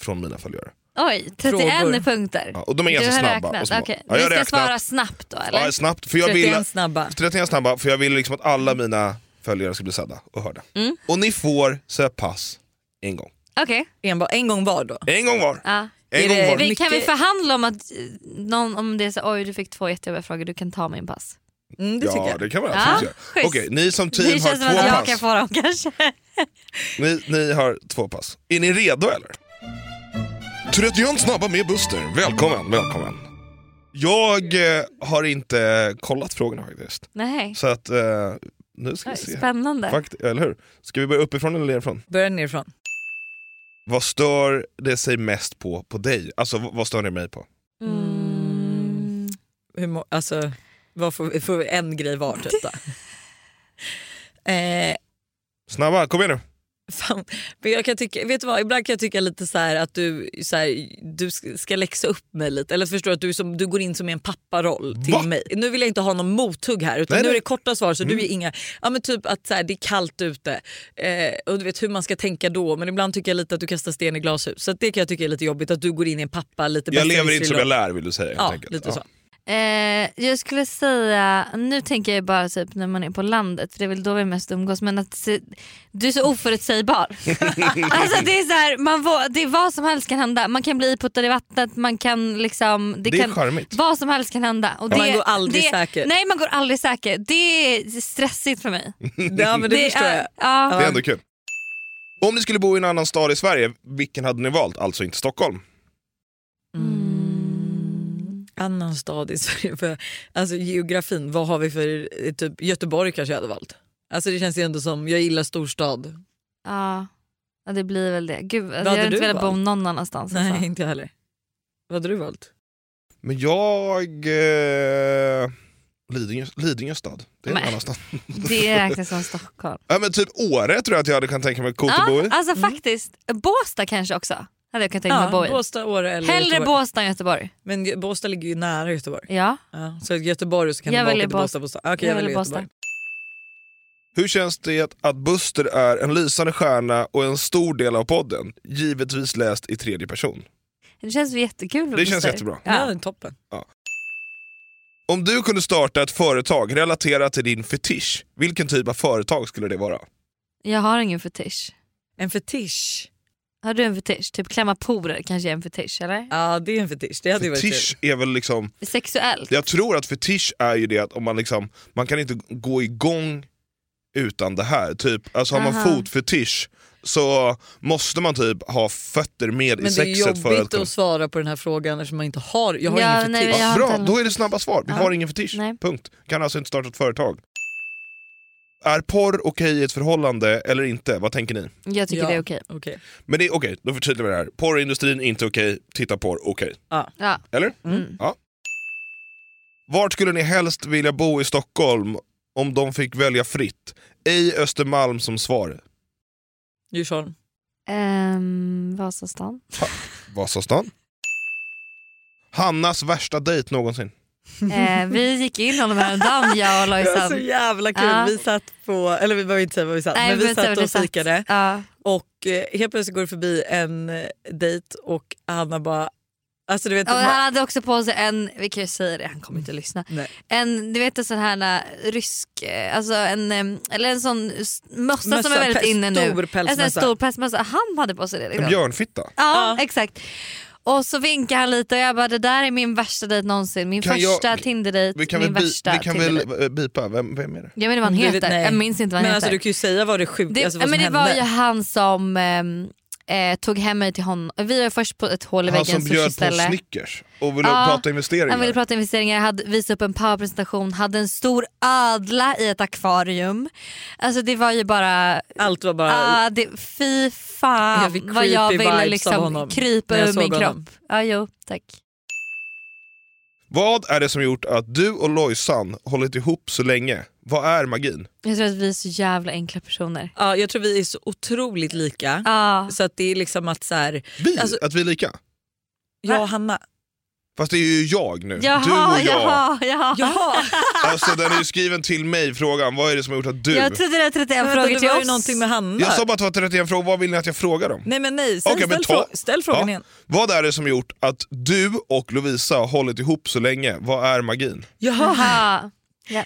A: från mina följare.
C: Oj, 31
B: Frågor.
C: punkter.
A: Ja, och de är ganska
C: du har
A: snabba och
C: räknat.
A: små.
C: Okej.
A: Ja, jag har
C: vi ska
A: räknat.
C: svara snabbt då eller?
A: Ja, snabbt, för jag vill,
B: 31 snabba.
A: 31 snabba, för jag vill liksom att alla mina följare ska bli sedda och hörda.
C: Mm.
A: Och ni får säga pass en gång.
C: Okej.
B: Enbart en gång var då.
A: En gång var.
C: Ja.
A: En
B: Är
A: gång
B: det-
A: var.
C: Vi, kan vi
B: Mycket-
C: förhandla om att eh, någon, om det är så oj du fick två jättejobbiga frågor, du kan ta min pass.
B: Mm, det tycker
A: Ja
B: jag.
A: det kan man
C: Ja,
A: absolut göra.
C: schysst.
A: Okej, ni som
C: det
A: team
C: känns
A: har
C: som att
A: två
C: jag
A: pass.
C: kan få dem kanske.
A: Ni, ni har två pass. Är ni redo eller? 31 snabba med Buster. Välkommen, välkommen. Jag eh, har inte kollat frågorna faktiskt.
C: Nej.
A: Så att eh, nu ska vi
C: Oj,
A: se.
C: Spännande.
A: Fakt, eller hur? Ska vi börja uppifrån eller nerifrån?
B: Börja nerifrån.
A: Vad stör det sig mest på på dig? Alltså v- vad stör det mig på?
C: Mm.
B: Hur må- alltså, vad får, vi- får vi en grej var typ då? eh,
A: Snabba, kom igen nu.
B: Fan. Men jag kan tycka, vet du vad, ibland kan jag tycka lite så här att du, så här, du sk- ska läxa upp mig lite. Eller förstår du att du, är som, du går in som i en papparoll till
A: Va?
B: mig. Nu vill jag inte ha någon mothugg här utan
A: Nej,
B: nu
A: nej.
B: är
A: Mm.
B: det korta svar så du är inga, ja men typ att så här, det är kallt ute eh, och du vet hur man ska tänka då men ibland tycker jag lite att du kastar sten i glashus. Så att det kan jag tycka är lite jobbigt att du går in i en pappa lite
A: Jag
B: bättre
A: lever inte som jag
B: livsstil
A: lär vill du säga. helt
B: och- Ja,
A: enkelt.
B: lite
A: Ja.
B: så.
C: Eh, jag skulle säga, nu tänker jag bara typ när man är på landet för det är väl då vi mest umgås men att se, du är så oförutsägbar. alltså det är så här, man, vå- det är vad som helst kan hända. Man kan bli iputtad i vattnet, man kan liksom... Det,
A: Det är
C: kan,
A: charmigt.
C: Vad som helst kan hända. Och
B: Man går aldrig
C: det,
B: säker.
C: Nej man går aldrig säker. Det är stressigt för mig.
B: Ja men det, förstår jag.
C: Ja,
A: Det är ändå kul. Om ni skulle bo i en annan stad i Sverige, vilken hade ni valt? Alltså inte Stockholm.
B: Annan stad i Sverige. För, alltså geografin, vad har vi för... eh, Typ, Göteborg kanske jag hade valt. Alltså det känns ju ändå som, jag gillar storstad.
C: ja. ja det blir väl det. Gud, alltså, jag
B: hade
C: hade inte
B: du
C: velat bo
B: valt?
C: någon annanstans.
B: Nej,
C: Alltså.
B: inte jag heller. Vad hade du valt?
A: Men jag... Eh, Lidingö, Lidingö stad. Det är en
C: Nej.
A: annan stad.
C: Det räknas som Stockholm.
A: Ja, men typ Åre tror jag att jag hade kunnat tänka mig coolt att bo
C: Ja,
A: i.
C: alltså faktiskt. Båstad kanske också. Hade jag kunnat tänka mig att bo i.
B: Mm. Båstad, Åre eller
C: Hellre
B: Göteborg.
C: Båstad än Göteborg.
B: Men Gö- Båstad ligger ju nära Göteborg.
C: Ja.
B: Ja. Så i Göteborg så kan
C: Jag
B: du åka
C: väljer
B: till Båstad. Båstad. Okej,
C: Jag
B: jag väljer
C: väljer
B: Göteborg.
A: Hur känns det att, att Buster är en lysande stjärna och en stor del av podden? Givetvis läst i tredje person.
C: Det känns jättekul.
A: Det känns
C: Båstad.
A: jättebra.
B: Ja.
C: Ja.
B: toppen.
A: Om du kunde starta ett företag relaterat till din fetisch, vilken typ av företag skulle det vara?
C: Jag har ingen fetisch.
B: En fetisch.
C: Har du en fetisch? Typ klämma porer kanske är en fetisch eller?
B: Ja, det är en fetisch. Det hade ju varit
A: Fetisch är väl liksom...
C: Sexuellt?
A: Jag tror att fetisch är ju det att om man liksom, man kan inte gå igång utan det här. Typ, alltså har man
C: Aha.
A: fotfetisch så måste man typ ha fötter med i
B: Men det är
A: sexet för att
B: jobbigt
A: kunna...
B: att svara på den här frågan eftersom man inte har... Jag har
C: Ja,
B: ingen
C: nej,
B: fetisch.
C: jag
A: Ja,
C: har
A: bra,
C: inte-
A: då är det snabba svar. Vi
C: Ja.
A: har ingen fetisch.
C: Nej.
A: Punkt. Kan alltså inte starta ett företag. Är porr okej i ett förhållande eller inte? Vad tänker ni?
C: Jag tycker
B: Ja.
C: det är okej.
B: Okej.
A: Men det är okej, då förtydligar vi det här. Porrindustrin är inte okej, titta porr, okej.
C: Ja.
A: Eller?
C: Mm.
A: Ja. Vart skulle ni helst vilja bo i Stockholm om de fick välja fritt? Ej Östermalm som svar.
B: Djursholm.
C: Ehm, Vasastan.
A: Vasastan. Hannas värsta dejt någonsin.
C: eh, vi gick in honom häromdagen jag och
B: Det var så
C: Lojsan.
B: jävla kul.
C: Ja.
B: Vi satt på, eller vi behöver inte säga var vi satt,
C: Nej,
B: men
C: men
B: vi
C: så var
B: satt
C: det
B: och
C: satt.
B: fikade
C: Ja.
B: och eh, helt plötsligt går det förbi en eh, dejt och Hanna bara, alltså du vet,
C: Och
B: man-
C: han hade också på sig en, vi kan ju säga det, han kommer inte att lyssna.
B: Nej.
C: En, du vet en sån här eh, rysk, eh, alltså en, em, eller en sån s- mössa, som är väldigt
B: pe-
C: inne nu.
B: Stor
C: En sån
B: pälsmössa.
C: här stor pälsmössa, han hade på sig det.
A: En
C: Liksom.
A: björnfitta.
C: Ja,
B: Ja.
C: exakt. Och så vinkar han lite och jag bara det där är min värsta dejt någonsin. Min
A: Kan
C: första
A: jag- Vi
C: Tinder-dejt,
A: kan
C: min
A: väl, bi-
C: värsta
A: vi kan
C: Tinder-dejt.
A: väl eh, bipa, vem, vem är det?
C: Jag vet inte vad han
B: Du vet-
C: heter,
B: nej.
A: alltså,
C: jag minns inte vad han
B: Men
C: heter.
B: alltså, du kan ju säga vad det sjuka,
C: det,
B: alltså, vad
C: men
B: som
C: det
B: hände.
C: var ju han som, ehm, eh, tog hem mig till honom. Vi var först på ett hål i
A: Han
C: väggen
A: som bjöd på
C: sushiställe.
A: Snickers och ville
C: Ja,
A: prata investeringar.
C: Han ville prata investeringar, hade, visa upp en powerpresentation, hade en stor ödla i ett akvarium. Alltså det var ju bara...
B: Allt var bara...
C: Ah, det, fy
B: Jag
C: fan
B: fick
C: vad jag
B: creepy vibes
C: ville
B: av
C: liksom
B: honom
C: krypa
B: när jag
C: ur min
B: såg honom.
C: kropp. Ja, jo, tack.
A: Vad är det som gjort att du och Lojsan hållit ihop så länge? Vad är magin?
C: Jag tror att vi är så jävla enkla personer. Ah,
B: Ja, jag tror vi är så otroligt lika.
C: Ja,
B: Så att det är liksom att så här,
A: Vi,
B: Alltså-
A: att vi är lika.
B: jag och Hanna.
A: Fast det är ju jag nu. du
C: jaha,
A: och jag.
C: jaha, jaha.
B: Jaha!
A: Alltså den är ju skriven till mig frågan, vad är det som har gjort att du...
C: Jag trodde det var 31
B: det
C: frågor till
B: var ju
C: oss.
B: någonting med Hanna.
A: Jag sa bara att det var 31 frågor, vad vill ni att jag frågar om?
B: Nej men nej, ställ,
A: Okej, men
B: ställ,
A: ta-
B: frå- ställ frågan
A: Ja.
B: igen.
A: Vad är det som gjort att du och Lovisa har hållit ihop så länge? Vad är magin?
B: Jaha.
C: Jaha.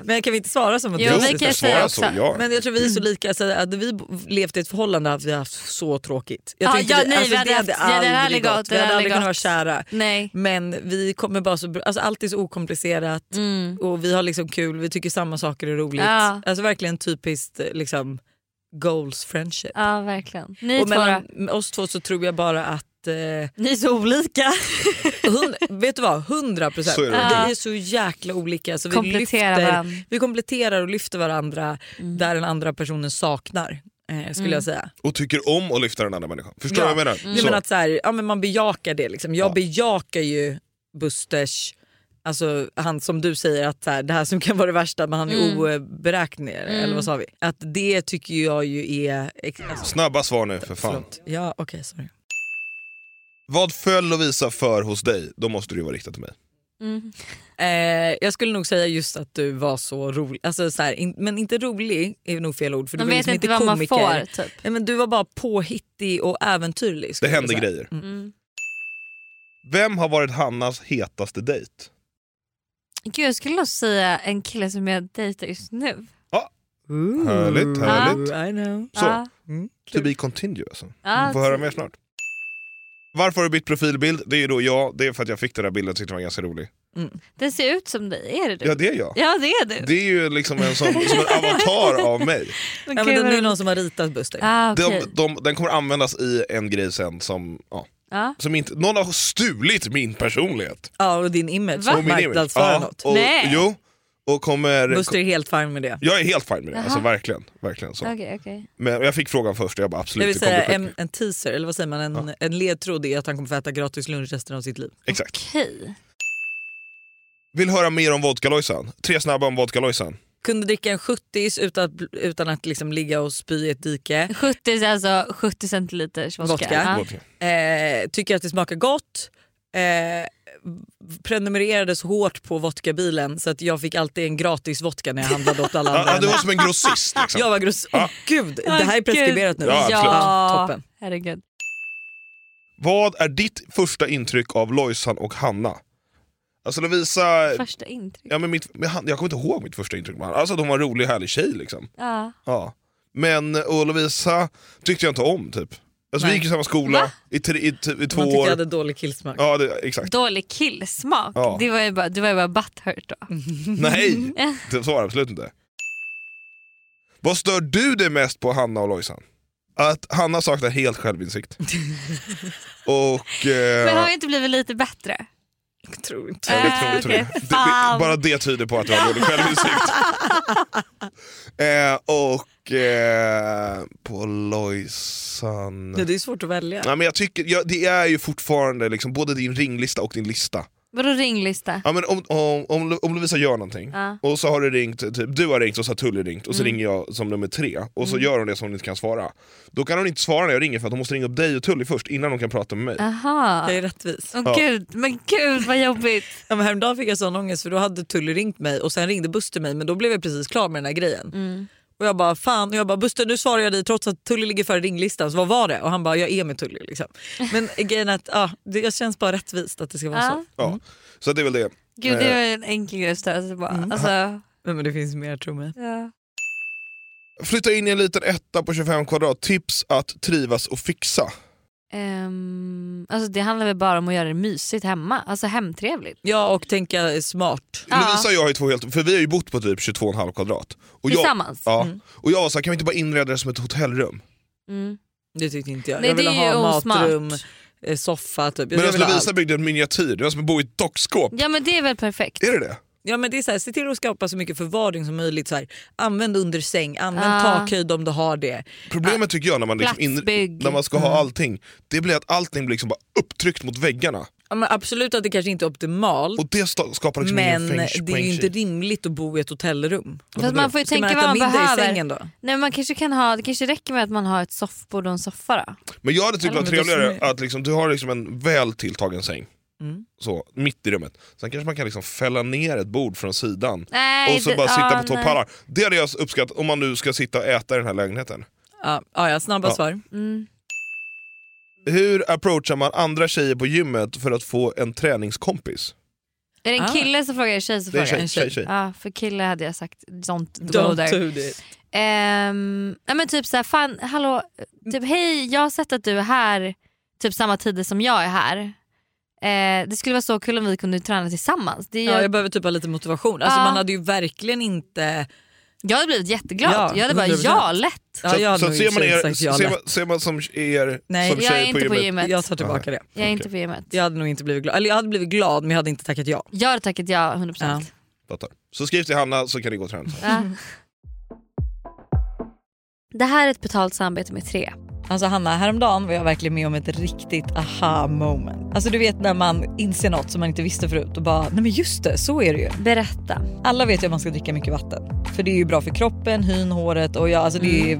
B: Men kan vi inte svara som att
C: Jo,
B: du
C: vi
B: sitter
C: kan
B: och
C: säga
B: svarar?
A: så,
C: också.
A: ja.
B: Men jag tror vi är så
A: Mm.
B: lika, så hade vi bo- levt i ett förhållande hade vi haft så tråkigt. Jag
C: Ja,
B: tror inte
C: ja, nej, vi hade
B: det
C: haft- det hade aldrig gått,
B: Vi
C: det
B: hade
C: hade
B: aldrig kunnat vara
C: gått.
B: kära.
C: Nej.
B: Men vi kommer bara så, br- alltså allt är så okomplicerat och vi har liksom kul, vi tycker samma saker är roligt.
C: Mm. Ja.
B: Alltså verkligen typiskt eh, liksom, goals friendship.
C: Ja, verkligen. Ni
B: och
C: två då?
B: mellan oss två så tror jag bara att eh,
C: Ni är så olika.
B: Hund, vet du vad, 100 procent.
A: Så är det
B: Vi
A: verkligen.
B: är så jäkla olika. Så vi,
C: Kompletterar
B: lyfter,
C: varandra.
B: vi kompletterar och lyfter varandra
C: Mm.
B: där den andra personen saknar. Eh, skulle jag säga.
A: Och tycker om att lyfta den andra människan. Förstår du
B: Ja. Mm.
A: vad jag menar?
C: Mm.
B: Nej,
A: Så,
B: men att så här, ja, men man bejakar det. Liksom. Jag
A: Ja.
B: bejakar ju Busters, alltså han som du säger att så här, det här som kan vara det värsta men han är
C: Mm.
B: oberäknelig. Eller vad sa vi? Att det tycker jag ju är... ex- Alltså,
A: Snabba svar nu för fan.
B: förlåt. Ja, okej sorry.
A: Vad föll Lovisa för hos dig? Då måste det ju vara riktat till mig.
B: Eh, jag skulle nog säga just att du var så rolig, alltså, så här, in, men inte rolig är nog fel ord för du
C: De
B: var
C: vet
B: liksom
C: inte
B: inte
C: vad man
B: komiker.
C: får typ.
B: Nej, men du var bara påhittig och äventyrlig.
A: Det
B: skulle jag
A: hände
B: säga.
A: grejer.
C: Mm.
A: Vem har varit Hannas hetaste dejt?
C: Gud, jag skulle nog säga en kille som jag dejtar just nu.
B: Ooh.
A: Härligt,
C: härligt.
B: I know.
A: Så,
C: Ja.
A: to be continued alltså.
C: Ja,
A: Vi får höra mer snart. Varför har du bytt profilbild? Det är ju då jag, det är för att jag fick den där bilden och tyckte den var ganska rolig.
C: Den ser ut som dig, är det du?
A: Ja det är jag.
C: Ja det är du.
A: Det är ju liksom en sån, som en avatar av mig.
B: Ja, men
C: gud,
B: det
C: vad
B: är någon
C: roligt.
B: som har ritat Buster.
C: Ah, okej.
A: De, de, den kommer användas i en grej sen som, ja,
C: Ja.
A: som inte, någon har stulit min personlighet.
B: Ja, och din image.
C: Va?
A: Och min image.
B: Marknadsföra något.
A: och,
C: Ah, Nej.
A: Jo, och kommer...
B: Buster är helt fine med det.
A: Jag är helt fine med det, alltså,
C: Jaha.
A: verkligen. verkligen så.
C: Okej, okej.
A: Men jag fick frågan först och jag bara
B: Jag
A: absolut,
B: vill
A: det kommer
B: säga
A: bli skitbra.
B: en, en teaser, eller vad säger man, en, en ledtråd är att han kommer få äta gratis lunch resten av sitt liv.
A: Exakt.
C: Okej.
A: Vill höra mer om vodka Lojsan. Tre snabba om vodka Lojsan.
B: Kunde dricka en 70s utan att, utan att liksom ligga och spy i ett dike.
C: 70 alltså 70 centiliters vodka.
B: Vodka.
C: Ja.
A: Vodka.
B: eh, tycker att det smakar gott. Eh, prenumererade så hårt på vodkabilen så att jag fick alltid en gratis vodka när jag handlade åt alla
A: Ja,
B: andra.
A: ja, du var som en grossist. Liksom.
B: Jag var gross... Åh gud, det här är preskriberat nu.
A: Ja,
C: Ja,
A: absolut.
B: Toppen.
C: herregud.
A: Vad är ditt första intryck av Lojsan och Hanna? Alltså Lovisa,
C: Första intryck.
A: ja, men mitt, men han, jag kommer inte ihåg mitt första intryck med henne. Alltså att hon var en rolig härlig tjej liksom.
C: Ja.
A: Ja. Men eh, och Lovisa tyckte jag inte om typ. Alltså, vi
B: Nej.
A: gick i samma skola i, tre, i, t- i två
B: Man tyckte jag
A: år.
B: hade dålig killsmak.
A: Ja det, exakt.
C: Dålig killsmak.
A: Ja.
C: Det var ju bara, det var ju bara butthurt då.
B: Mm.
A: Nej, det- så var det absolut inte. Vad stör du dig mest på Hanna och Lojsan? Att Hanna saknar helt självinsikt. och... eh,
C: Men har ju inte blivit lite bättre.
B: Jag tror inte.
A: Ja, det
C: Äh,
A: tror jag, tror jag.
C: okej.
A: Det-
C: Fan.
A: Bara det tyder på att jag har dålig självinsikt. eh, och eh, på Lojsan...
B: Ja, det är svårt att välja.
A: Ja, men jag tycker, ja, det är ju fortfarande liksom, både din ringlista och din lista.
C: Vadå ringlista?
A: Ja, men om, om, om, Lo- om Lovisa gör någonting
C: Ja. Mm.
A: och så har det ringt, typ, du har ringt och så har Tully ringt och så ringer jag som nummer tre och så gör hon det som hon inte kan svara. Då kan hon inte svara när jag ringer för att hon måste ringa upp dig och Tully först innan hon kan prata med mig.
C: Aha.
B: Jag är rättvis.
C: Åh
A: Ja.
C: gud, men gud vad jobbigt.
B: Ja, men häromdagen fick jag sån ångest för då hade Tully ringt mig och sen ringde Buster mig men då blev jag precis klar med den här grejen. Och jag bara fan, och jag bara Buster nu svarar jag dig trots att Tully ligger före ringlistan så vad var det? Och han bara jag är med Tully liksom. Men grejen är att ja, det jag känns bara rättvist att det ska vara
C: Ja.
B: så.
A: Ja. Så det är väl det.
C: Gud
B: Eh.
C: det var ju en enkel grej att störa sig på.
B: Mm.
C: Alltså,
B: Men, men det finns mer tro mig.
C: ja.
A: Flytta in i en liten etta på 25 kvadrat, tips att trivas och fixa.
C: Ehm, alltså det handlar väl bara om att göra det mysigt hemma. Alltså hemtrevligt.
B: Ja och tänka smart.
C: Ja.
A: Lovisa och jag har ju två helt, för vi har ju bott på typ 22,5 kvadrat. Och jag,
C: Tillsammans. Mm.
A: Ja, och jag var såhär, kan vi inte bara inreda det som ett hotellrum?
C: Mm.
B: Det tyckte inte jag.
C: Nej,
B: jag ville
C: det är ju
B: ha
C: osmart.
B: matrum, eh, soffa typ. Jag
A: Men alltså
B: ville ha
A: Lovisa
B: allt.
A: byggde en miniatyr, det var som att bo i ett dockskåp.
C: Ja men det är väl perfekt.
A: Är det det?
B: Ja, men det är så här, se till att skapa så mycket förvaring som möjligt. Så här. Använd under säng, använd
C: Ja.
B: takhöjd om du har det.
A: Problemet tycker jag när man, liksom in,
C: Platsbygg.
A: när man ska ha allting, det blir att allting blir liksom bara upptryckt mot väggarna.
B: Ja, men absolut att det kanske inte är optimalt
A: Och det sta- skapar liksom
B: men
A: ingen feng-
B: det är ju
A: feng
B: inte
A: shui.
B: rimligt att bo i ett hotellrum.
C: Fast man får ju
B: Ska man
C: tänka
B: äta
C: vad man
B: middag i
C: behöver.
B: sängen då?
C: Nej, man kanske kan ha, det kanske räcker med att man har ett soffbord och en soffa då.
A: Men jag hade tyckt det var
B: Eller om det är
A: trevligare
B: som-
A: att liksom, du har liksom en väl tilltagen säng. Så, mitt i rummet. Sen kanske man kan liksom fälla ner ett bord från sidan
C: Nej,
A: och så
C: det-
A: bara sitta
C: ja,
A: på två
C: nej.
A: pallar. Det hade jag uppskattat om man nu ska sitta och äta i den här lägenheten.
B: Ja, ja, ja, snabba
A: Ja.
B: svar.
A: Hur approachar man andra tjejer på gymmet för att få en träningskompis?
C: Är det en
B: Ah.
C: kille som frågar eller tjej som
A: Det är
C: frågar?
A: en tjej.
B: En
A: tjej,
B: tjej.
A: tjej.
C: Ja, för kille hade jag sagt don't, go
B: Don't
C: there.
B: do it.
C: Ehm, nej men typ såhär, fan hallå, typ hej jag har sett att du är här typ samma tider som jag är här. Eh, det skulle vara så kul om vi kunde träna tillsammans. Det gör,
B: Ja, jag
C: jag,
B: behöver typ ha lite motivation. Alltså,
C: Ja.
B: Man hade ju verkligen inte...
C: hade blivit jätteglad.
B: Ja,
C: jag hade bara
B: 100%.
C: ja lätt.
B: Ja, jag hade
A: så
B: nog
A: att
B: i
A: ser,
B: och för
A: man er,
B: sig sagt ja
A: ser,
B: lätt.
A: man, ser man som er
B: Nej,
A: som
C: jag är
A: tjej
C: inte på gymmet.
B: Jag tar tillbaka det.
C: Jag är inte på gymmet.
B: Jag hade nog inte blivit glad. Eller jag hade blivit glad men jag hade inte tackat ja.
C: Jag hade tackat ja 100%.
B: Ja.
A: Fattar. Så skriv till Hanna så kan ni gå och träna tillsammans.
C: Ja. Det här är ett betalt samarbete med tre.
B: Alltså Hanna, häromdagen var jag verkligen med om ett riktigt aha moment. Alltså du vet när man inser något som man inte visste förut och bara, nej men just det, så är det ju.
C: Berätta.
B: Alla vet ju att man ska dricka mycket vatten. För det är ju bra för kroppen, hyn, håret och ja, alltså det, är,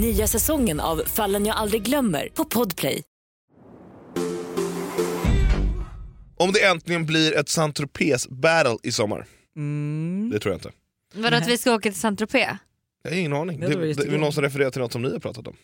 D: Nya säsongen av Fallen jag aldrig glömmer på Podplay.
A: Om det äntligen blir ett Saint Tropez battle i sommar.
B: Mm.
A: Det tror jag inte.
C: Vadå att vi ska åka till Saint-Tropé?
A: Jag har ingen aning. Det,
B: Jag tror
A: det,
B: det är
A: är någon som refererar till något som ni har pratat om.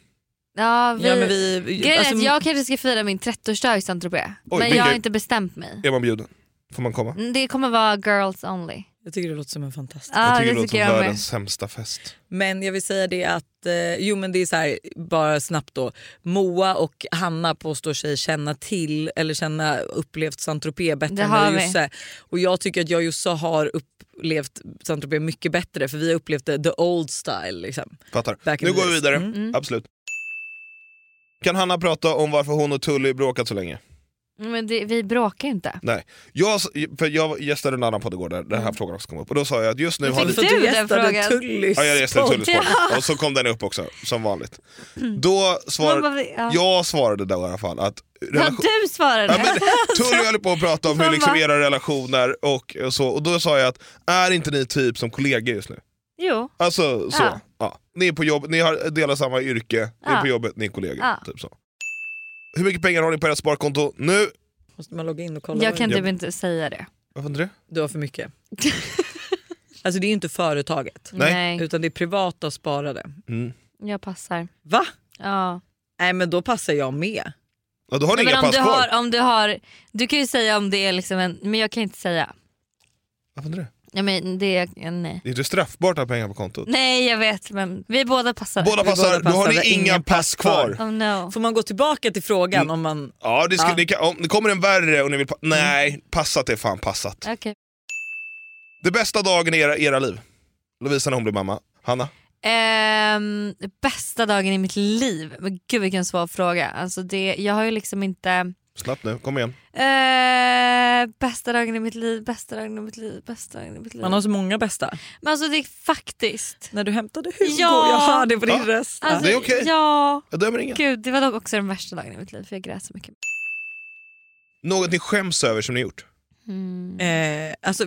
C: Ja, vi...
B: Ja, men vi,
C: Grejen är
B: alltså,
C: att jag kanske ska fira min 30-årsdag i Saint-Tropez.
A: Oj,
C: Men
A: vilken-
C: jag har inte bestämt mig.
A: Är man bjuden? Får man komma?
C: Mm, Det kommer vara girls only.
B: jag tycker det låter som en fantastisk.
C: Ja,
A: jag tycker det låter som
C: jag med.
A: världens sämsta fest.
B: Men jag vill säga det att, eh, jo men det är så här, bara snabbt då. Moa och Hanna påstår sig känna till eller känna upplevt Saint Tropez bättre
C: Det
B: än
C: har
B: vad
C: vi.
B: Josse. Och jag tycker att jag och Josse har upplevt Saint Tropez mycket bättre för vi har upplevt det the old style. Liksom.
A: Fattar.
B: Back in
A: Nu
B: the
A: går vi
B: days.
A: vidare.
B: Mm,
A: Absolut. Kan Hanna prata om varför hon och Tully bråkat så länge?
C: Mm, Men det, vi bråkar ju inte.
A: Jag, för jag gästade en annan podd igår där
B: Mm.
A: den här frågan också kom upp och då sa jag att just nu har
C: Fick
A: vi...
C: du den frågan?
B: Tullys
A: Ja, jag gästade Tullys
C: Ja.
A: podd och så kom den upp också som vanligt.
B: Mm.
A: Då
C: Man
A: svarade...
C: bara, ja.
A: Jag svarade då i alla fall att...
C: Ja,
A: relation-
C: du svarade.
A: Ja, men Tully höll på att prata om hur
C: Alltså. Mamma.
A: liksom era relationer och, och så, och då sa jag att är inte ni typ som kollegor just nu?
C: Jo.
A: Alltså så. Ja.
C: Ja.
A: Ni är på jobbet, ni har delar samma yrke, ni är
C: Ja.
A: på jobbet, ni är kollegor.
C: Ja.
A: Typ så. Hur mycket pengar har ni på ert sparkonto nu?
B: Måste man logga in och kolla?
C: Jag
B: vad-
C: kan
A: Ja.
C: typ inte säga det.
A: Varför inte det?
B: Du har för mycket. alltså det är ju inte företaget
A: Nej.
B: utan det är privata sparade.
A: Mm.
C: jag passar.
B: Va?
C: Ja.
B: Nej men då passar jag med.
A: Ja, då har ni
C: men
A: inga
C: om
A: pass
C: du,
A: kvar.
C: har, om du har, du kan ju säga om det är liksom en, men jag kan inte säga.
A: Varför inte det?
C: Ja, men det, ja, nej.
A: Det är inte straffbart att ha pengar på kontot.
C: nej jag vet men vi båda passar.
A: Båda
B: Vi
A: passar,
B: båda
A: då har
B: passar,
A: ni inga
B: ingen
A: pass kvar.
C: Oh no.
B: Får man gå tillbaka till frågan
A: Mm.
B: om man...
A: Ja, det, ska,
B: Ja.
A: Det, kan, om, det kommer en värre och ni vill... Pa-
C: Mm.
A: Nej, passat är fan passat.
C: Okej.
A: Det bästa dagen i era, era liv? Lovisa när hon blev mamma. Hanna?
C: Ehm, bästa dagen i mitt liv? Men gud vilken svår fråga. Alltså det, jag har ju liksom inte...
A: Snabbt nu, kom igen.
C: Eh, bästa dagen i mitt liv, bästa dagen i mitt liv, bästa dagen i mitt liv.
B: Man har så många bästa.
C: Men alltså det är faktiskt...
B: När du hämtade Hugo,
C: Ja.
B: jag hör det på din
A: Ja.
B: röst.
C: Alltså,
A: det är okej.
C: Ja,
A: Jag dömer ingen.
C: gud det var dock också den värsta dagen i mitt liv för jag grät så mycket.
A: Något ni skäms över som ni gjort?
C: Mm.
B: Eh, alltså,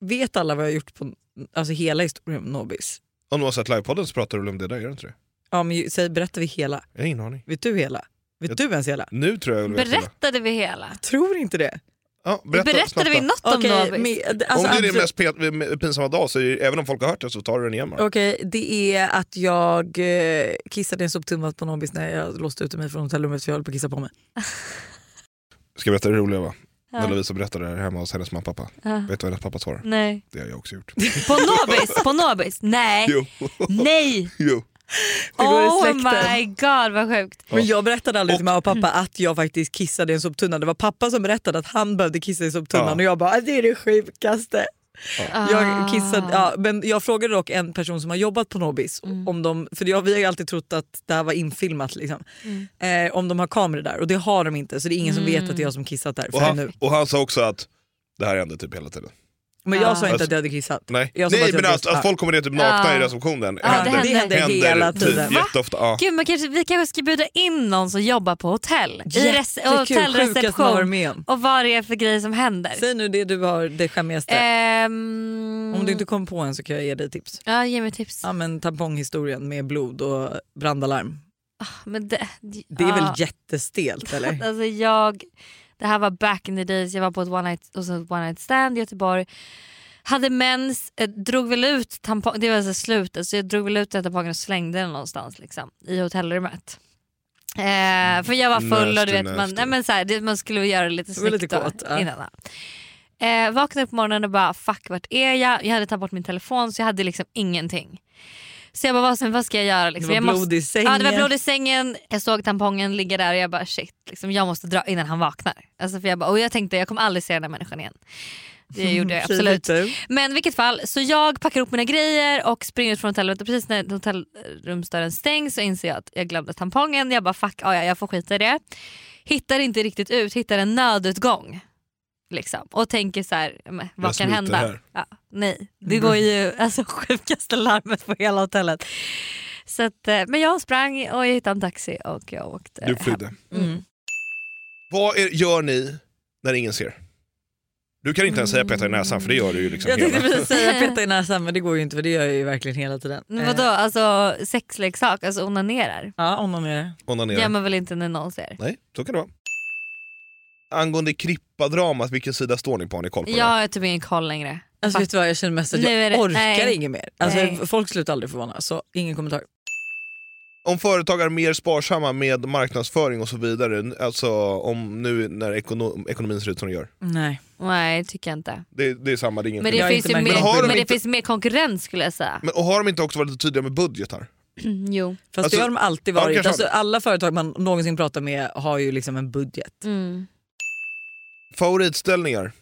B: vet alla vad jag har gjort på alltså, hela historien om Nobis?
A: Om du har sett livepodden så pratar du väl om det där, gör du inte det?
B: Ja, men ju- säg, berättar vi hela?
A: Jag har ingen aning.
B: Vet du hela? Vet
A: Jag-
B: du ens hela?
A: Nu tror jag jag vill veta det.
C: Berättade vi hela?
B: Tror inte det.
A: Ja, berätta,
C: Berättade
A: snabbt
C: vi
A: då.
C: något om
B: Okej,
C: Nobis?
B: men- alltså,
A: om det är
B: absolut-
A: din mest pe- pinsamma dag, så är det, även om folk har hört det så tar du den igen bara.
B: Okej, det är att jag eh, kissade i en soptunna på Nobis när jag låste ut mig från hotellrummet för jag höll på att kissa på mig.
A: Ska jag berätta det roliga va?
C: Ja.
A: När Lovisa berättade det här hemma hos hennes mamma och pappa.
C: Ja.
A: Vet du vad hennes pappa svarar?
C: Nej.
A: Det har jag också gjort.
C: På Nobis? På Nobis? Nej.
A: jo,
C: Nej!
A: jo.
B: Det går i
C: Oh
B: släkten.
C: my god vad sjukt.
B: Men jag berättade aldrig till mamma och pappa att jag faktiskt kissade i en soptunna. Det var pappa som berättade att han behövde kissa i soptunnan
A: Ja.
B: och jag bara "Ah, det är det sjukaste. Jag,
C: Ah.
B: kissade, ja, men jag frågade dock en person som har jobbat på Nobis,
C: Mm.
B: om de, för jag, vi har ju alltid trott att det här var infilmat, liksom,
C: Mm.
B: eh, om de har kameror där. Och det har de inte så det är ingen som vet att det är
C: Mm.
B: jag som kissat där.
A: Och
B: För nu.
A: han, och han sa också att det här hände typ hela tiden.
B: Men jag sa
C: Ah.
B: inte att jag hade kissat.
A: Alltså, Nej,
B: Jag sa bara
A: Nej
B: att jag
A: men att,
B: visste.
A: att folk kommer ner typ nakna
C: Ja.
A: i receptionen
C: Ja, Ah, det händer.
B: det händer hela
A: typ
B: tiden.
A: Jätteofta. Ja.
C: Gud, man kanske, vi kanske ska bjuda in någon som jobbar på hotell. I res-
B: Jättekul, sjukaste man varit
C: hotellreception.
B: med om.
C: Och vad det är för grejer som händer.
B: Säg nu det du har, det skämmigaste.
C: Ehm,
B: Om du inte kom på en så kan jag ge dig tips.
C: Ja, ge mig tips.
B: Ja, men tamponghistorien med blod och brandalarm.
C: Men det,
B: Det är
C: ja.
B: väl jättestelt eller?
C: Alltså jag, det här var back in the days, jag var på ett one night, hos ett one night stand i Göteborg. Hade mens, eh, drog väl ut tampongen, det var alltså slutet, så jag drog väl ut den tampongen och slängde den någonstans liksom, i hotellrummet. Eh, för jag var full och
A: Nasty,
C: du vet, man,
A: nasty.
C: nej, men så här, det, man skulle göra det lite
B: Det var
C: snyggt
B: lite
C: då,
B: kåt, ja.
C: innan. va. Eh, vaknade upp på morgonen och bara fuck vart är jag? Jag hade tagit bort min telefon så jag hade liksom ingenting. Så jag bara vad, vad ska jag göra? Liksom?
B: Det var
C: jag
B: blod i sängen.
C: Ja, det var blod i sängen, jag såg tampongen ligga där och jag bara shit, liksom, jag måste dra innan han vaknar. Alltså, för jag, bara, och jag tänkte jag kommer aldrig se den här människan igen. Det gjorde jag absolut.
B: Fint,
C: Men i vilket fall, så jag packar upp mina grejer och springer ut från hotellet och precis när hotellrumsdörren stängs så inser jag att jag glömde tampongen. Jag bara fuck, ja, ja, jag får skita i det. Hittar inte riktigt ut, hittar en nödutgång. Liksom. Och tänker så här, men, vad kan
A: smiter
C: hända?
A: här.
C: Ja, nej, det går ju alltså, sjukaste larmet på hela hotellet. Så att, eh, men jag sprang och jag hittade en taxi och jag åkte
A: Du
C: hem.
A: flydde.
C: Mm.
A: Vad är, gör ni när ingen ser? Du kan inte ens säga peta i näsan för det gör du ju liksom
B: Jag
A: hela.
B: tänkte precis säga peta i näsan men det går ju inte för det gör jag ju verkligen hela tiden.
C: Men
B: Eh,
C: vadå, alltså sexleksak, alltså onanerar.
B: Ja, om någon är det.
A: Onanera.
C: Gör man väl inte när någon ser?
A: Nej, så kan det vara. Angående Krippa-dramat, vilken sida står ni på? Har ni koll på
C: Jag har typ ingen koll längre.
B: Alltså vet du vad, jag känner mest att
C: Nu
B: jag
C: är det-
B: orkar
C: nej.
B: inget mer. Alltså,
C: Nej.
B: Folk slutar aldrig förvåna så ingen kommentar.
A: det? Om företag är mer sparsamma med marknadsföring och så vidare, alltså om nu när ekono- ekonomin ser ut som den gör.
B: Nej.
C: Nej tycker jag inte.
A: Det, det är samma, det är ingen
C: Men
A: skillnad.
C: det,
B: Jag har
C: finns,
B: inte
C: ju
B: märkt
C: mer,
A: något. Men har de
C: men det
A: inte-
C: finns mer konkurrens skulle jag säga.
A: Men, och har de inte också varit tydliga med budgetar?
C: Jo.
B: Fast
A: Alltså,
B: det har de alltid
A: ja,
B: varit.
A: kanske
B: alltså,
A: har
B: alla företag man någonsin pratar med har ju liksom en budget.
C: Mm.
A: Favoritställningar?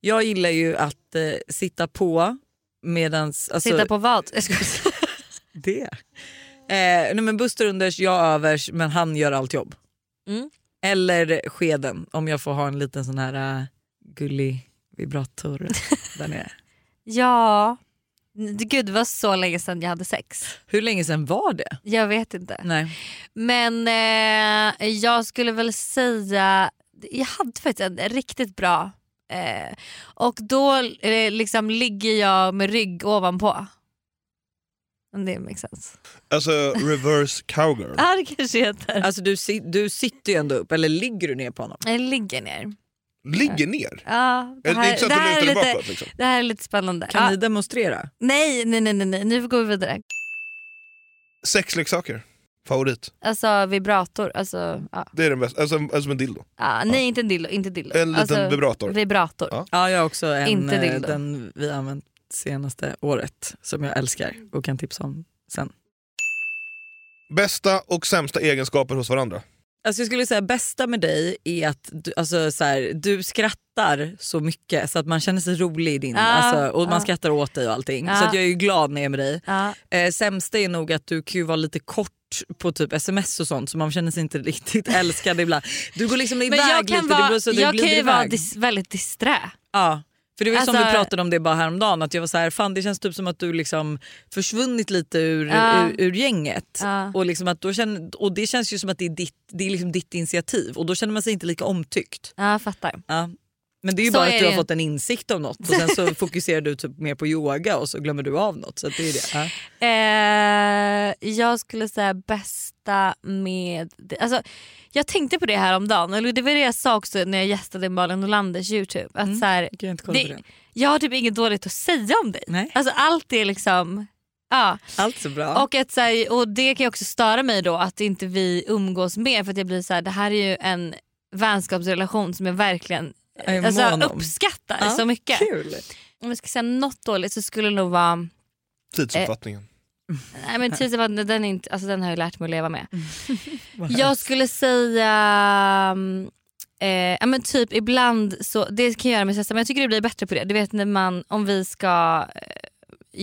B: Jag gillar ju att eh, sitta på medans... Alltså,
C: Sitta på vad? Jag skojar.
B: Det. Eh, nej men Buster unders, jag övers, men han gör allt jobb.
C: Mm.
B: Eller skeden, om jag får ha en liten sån här äh, gullig vibrator där nere.
C: ja. Gud det var så länge sedan jag hade sex.
B: Hur länge sedan var det?
C: Jag vet inte.
B: Nej.
C: Men eh, jag skulle väl säga, jag hade faktiskt en riktigt bra eh, och då eh, liksom ligger jag med rygg ovanpå. Om det makes sense.
A: Alltså reverse cowgirl.
C: Ja det kanske heter.
B: Alltså du, si- du sitter ju ändå upp, eller ligger du ner på honom?
C: Jag ligger ner.
A: Ligger ner?
C: Ja,
A: Det
C: det,
A: är
C: här,
A: inte så
C: det,
A: att du
C: här
A: lutar dig
C: är lite,
A: bakåt? Liksom.
C: det här är lite spännande.
B: Kan
C: Ja,
B: ni demonstrera?
C: nej, nej, nej, nej, nej, nu går vi vidare.
A: Sexleksaker? Favorit?
C: Alltså vibrator, alltså, ja.
A: Det är den bästa. Alltså, en- alltså en dildo.
C: ja, nej inte dildo, inte dildo.
A: En liten
C: alltså,
A: vibrator.
C: vibrator.
A: Ja.
B: Ja, jag har också en,
C: Inte
B: eh,
C: dildo.
B: den vi använt senaste året som jag älskar och kan tipsa om sen.
A: Bästa och sämsta egenskaper hos varandra.
B: Alltså jag skulle säga bästa med dig är att du, alltså så här, du skrattar så mycket så att man känner sig rolig i din,
C: Ja,
B: alltså, och
C: ja.
B: man skrattar åt dig och allting.
C: Ja.
B: Så att jag är ju glad när jag är med dig.
C: Ja.
B: Eh, sämsta är nog att du kan ju vara lite kort på typ sms och sånt så man känner sig inte riktigt älskad ibland. Du går liksom iväg
C: Men jag kan,
B: lite, det
C: vara,
B: blir så att du
C: jag kan
B: glider
C: ju vara
B: iväg.
C: dis, väldigt disträ.
B: Ja. För det var ju som
C: Alltså-
B: vi pratade om det bara häromdagen, att jag var så här, fan det känns typ som att du liksom försvunnit lite ur,
C: Ja.
B: ur, ur gänget.
C: Ja.
B: Och, liksom att då känner, och det känns ju som att det är, ditt, det är liksom ditt initiativ och då känner man sig inte lika omtyckt.
C: Ja, jag fattar.
B: Ja. Men det är ju
C: Så
B: bara
C: är
B: att du
C: det
B: har
C: ju.
B: fått en insikt om något och sen så fokuserar du typ mer på yoga och så glömmer du av något. Så att det är det. Ja.
C: Eh, jag skulle säga bästa med... Alltså, jag tänkte på det här om dagen. Eller det var det jag sa också när jag gästade Malin Olanders Youtube. Att så här,
B: Mm. Jag kan inte kolla på
C: det,
B: det.
C: jag har typ inget dåligt att säga om dig.
B: Nej.
C: Alltså, allt är liksom... Ja.
B: Allt så bra.
C: Och, att, så här, och det kan ju också störa mig då att inte vi umgås mer för att jag blir så här, det här är ju en vänskapsrelation som jag verkligen
B: Jag är
C: alltså,
B: mån om.
C: uppskattar
B: Ja,
C: så mycket.
B: Kul.
C: Om jag ska säga något dåligt så skulle det nog vara,
A: Tidsuppfattningen.
C: nej men tidsuppfattningen den, är inte- alltså, den har jag lärt mig att leva med.
B: Mm.
C: Jag skulle säga mm, Eh, ja, men typ ibland så, det kan jag göra mig stressad men jag tycker det blir bättre på det. Du vet när man, om vi ska eh,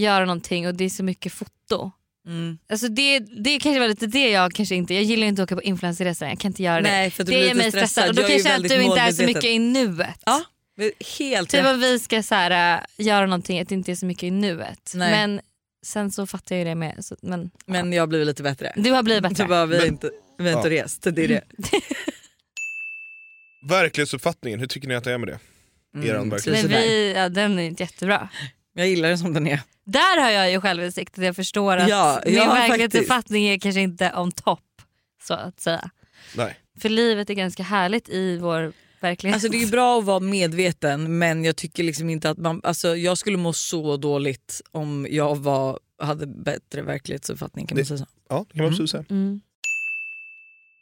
C: göra någonting och det är så mycket foto.
B: Mm.
C: Alltså det, det kanske var lite det jag kanske inte, jag gillar inte att åka på influencerresor, jag kan inte göra det.
B: Nej, för att du
C: det
B: blir
C: gör
B: lite
C: mig stressad,
B: stressad.
C: och då
B: Jag är
C: kan jag
B: ju
C: känna att
B: väldigt
C: du inte är så
B: målmedveten.
C: mycket i nuet.
B: Ja, men helt
C: Typ
B: rätt.
C: om vi ska så här, äh, göra någonting, att det inte är så mycket i nuet.
B: Nej.
C: Men sen så fattar jag ju det med. Så, men,
B: Men jag har blivit lite bättre.
C: Du har blivit bättre.
B: Typ bara, vi har
A: Men-
B: inte, vi har inte rest. Det är det.
C: Eh.
A: Verklighetsuppfattningen, hur tycker ni att jag är med det? Eran verklighet.
C: men
B: sådär.
C: Mm, vi, ja, den är inte jättebra.
B: Jag gillar den som den är.
C: Där har jag ju självinsikt att jag förstår att
B: Ja,
C: min
B: ja,
C: verklighetsuppfattning är kanske inte on top. Så att säga.
A: Nej.
C: För livet är ganska härligt i vår verklighet.
B: Alltså det är ju bra att vara medveten men jag tycker liksom inte att man, alltså jag skulle må så dåligt om jag var, hade bättre verklighetsuppfattning kan man
A: Det-
B: säga så.
A: Ja, det kan man absolut säga.
C: Mm.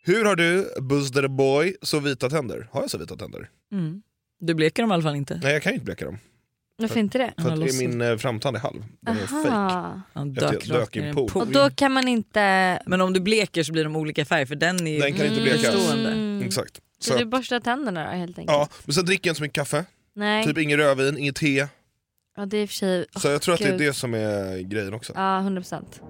A: Hur har du, Buzz the Boy, så vita tänder? Har jag så vita tänder?
B: Mm. Du bleker dem i alla fall inte.
A: Nej, jag kan ju inte bleka dem.
C: Varför inte det?
A: För
B: Han
A: att
B: har
A: det är min eh, framtand är halv. Den är fake.
C: Aha.
B: Han
A: Jag
B: dök,
A: dök
B: rakt
A: i en
B: ner i en
A: pool.
B: pool.
C: Och då kan man inte...
B: Men om du bleker så blir de olika färg för den är ju
A: Den kan inte
B: Mm.
A: blekas.
B: bestående.
A: Exakt.
C: Så du
A: Så,
C: borstar tänderna då helt enkelt?
A: ja, men sen dricker jag inte så mycket kaffe,
C: Nej.
A: typ inget rödvin, inget te.
C: Ja, det är i och för sig...
A: Så jag tror att det är
C: Gud.
A: det som är grejen också.
C: Ja, 100 procent.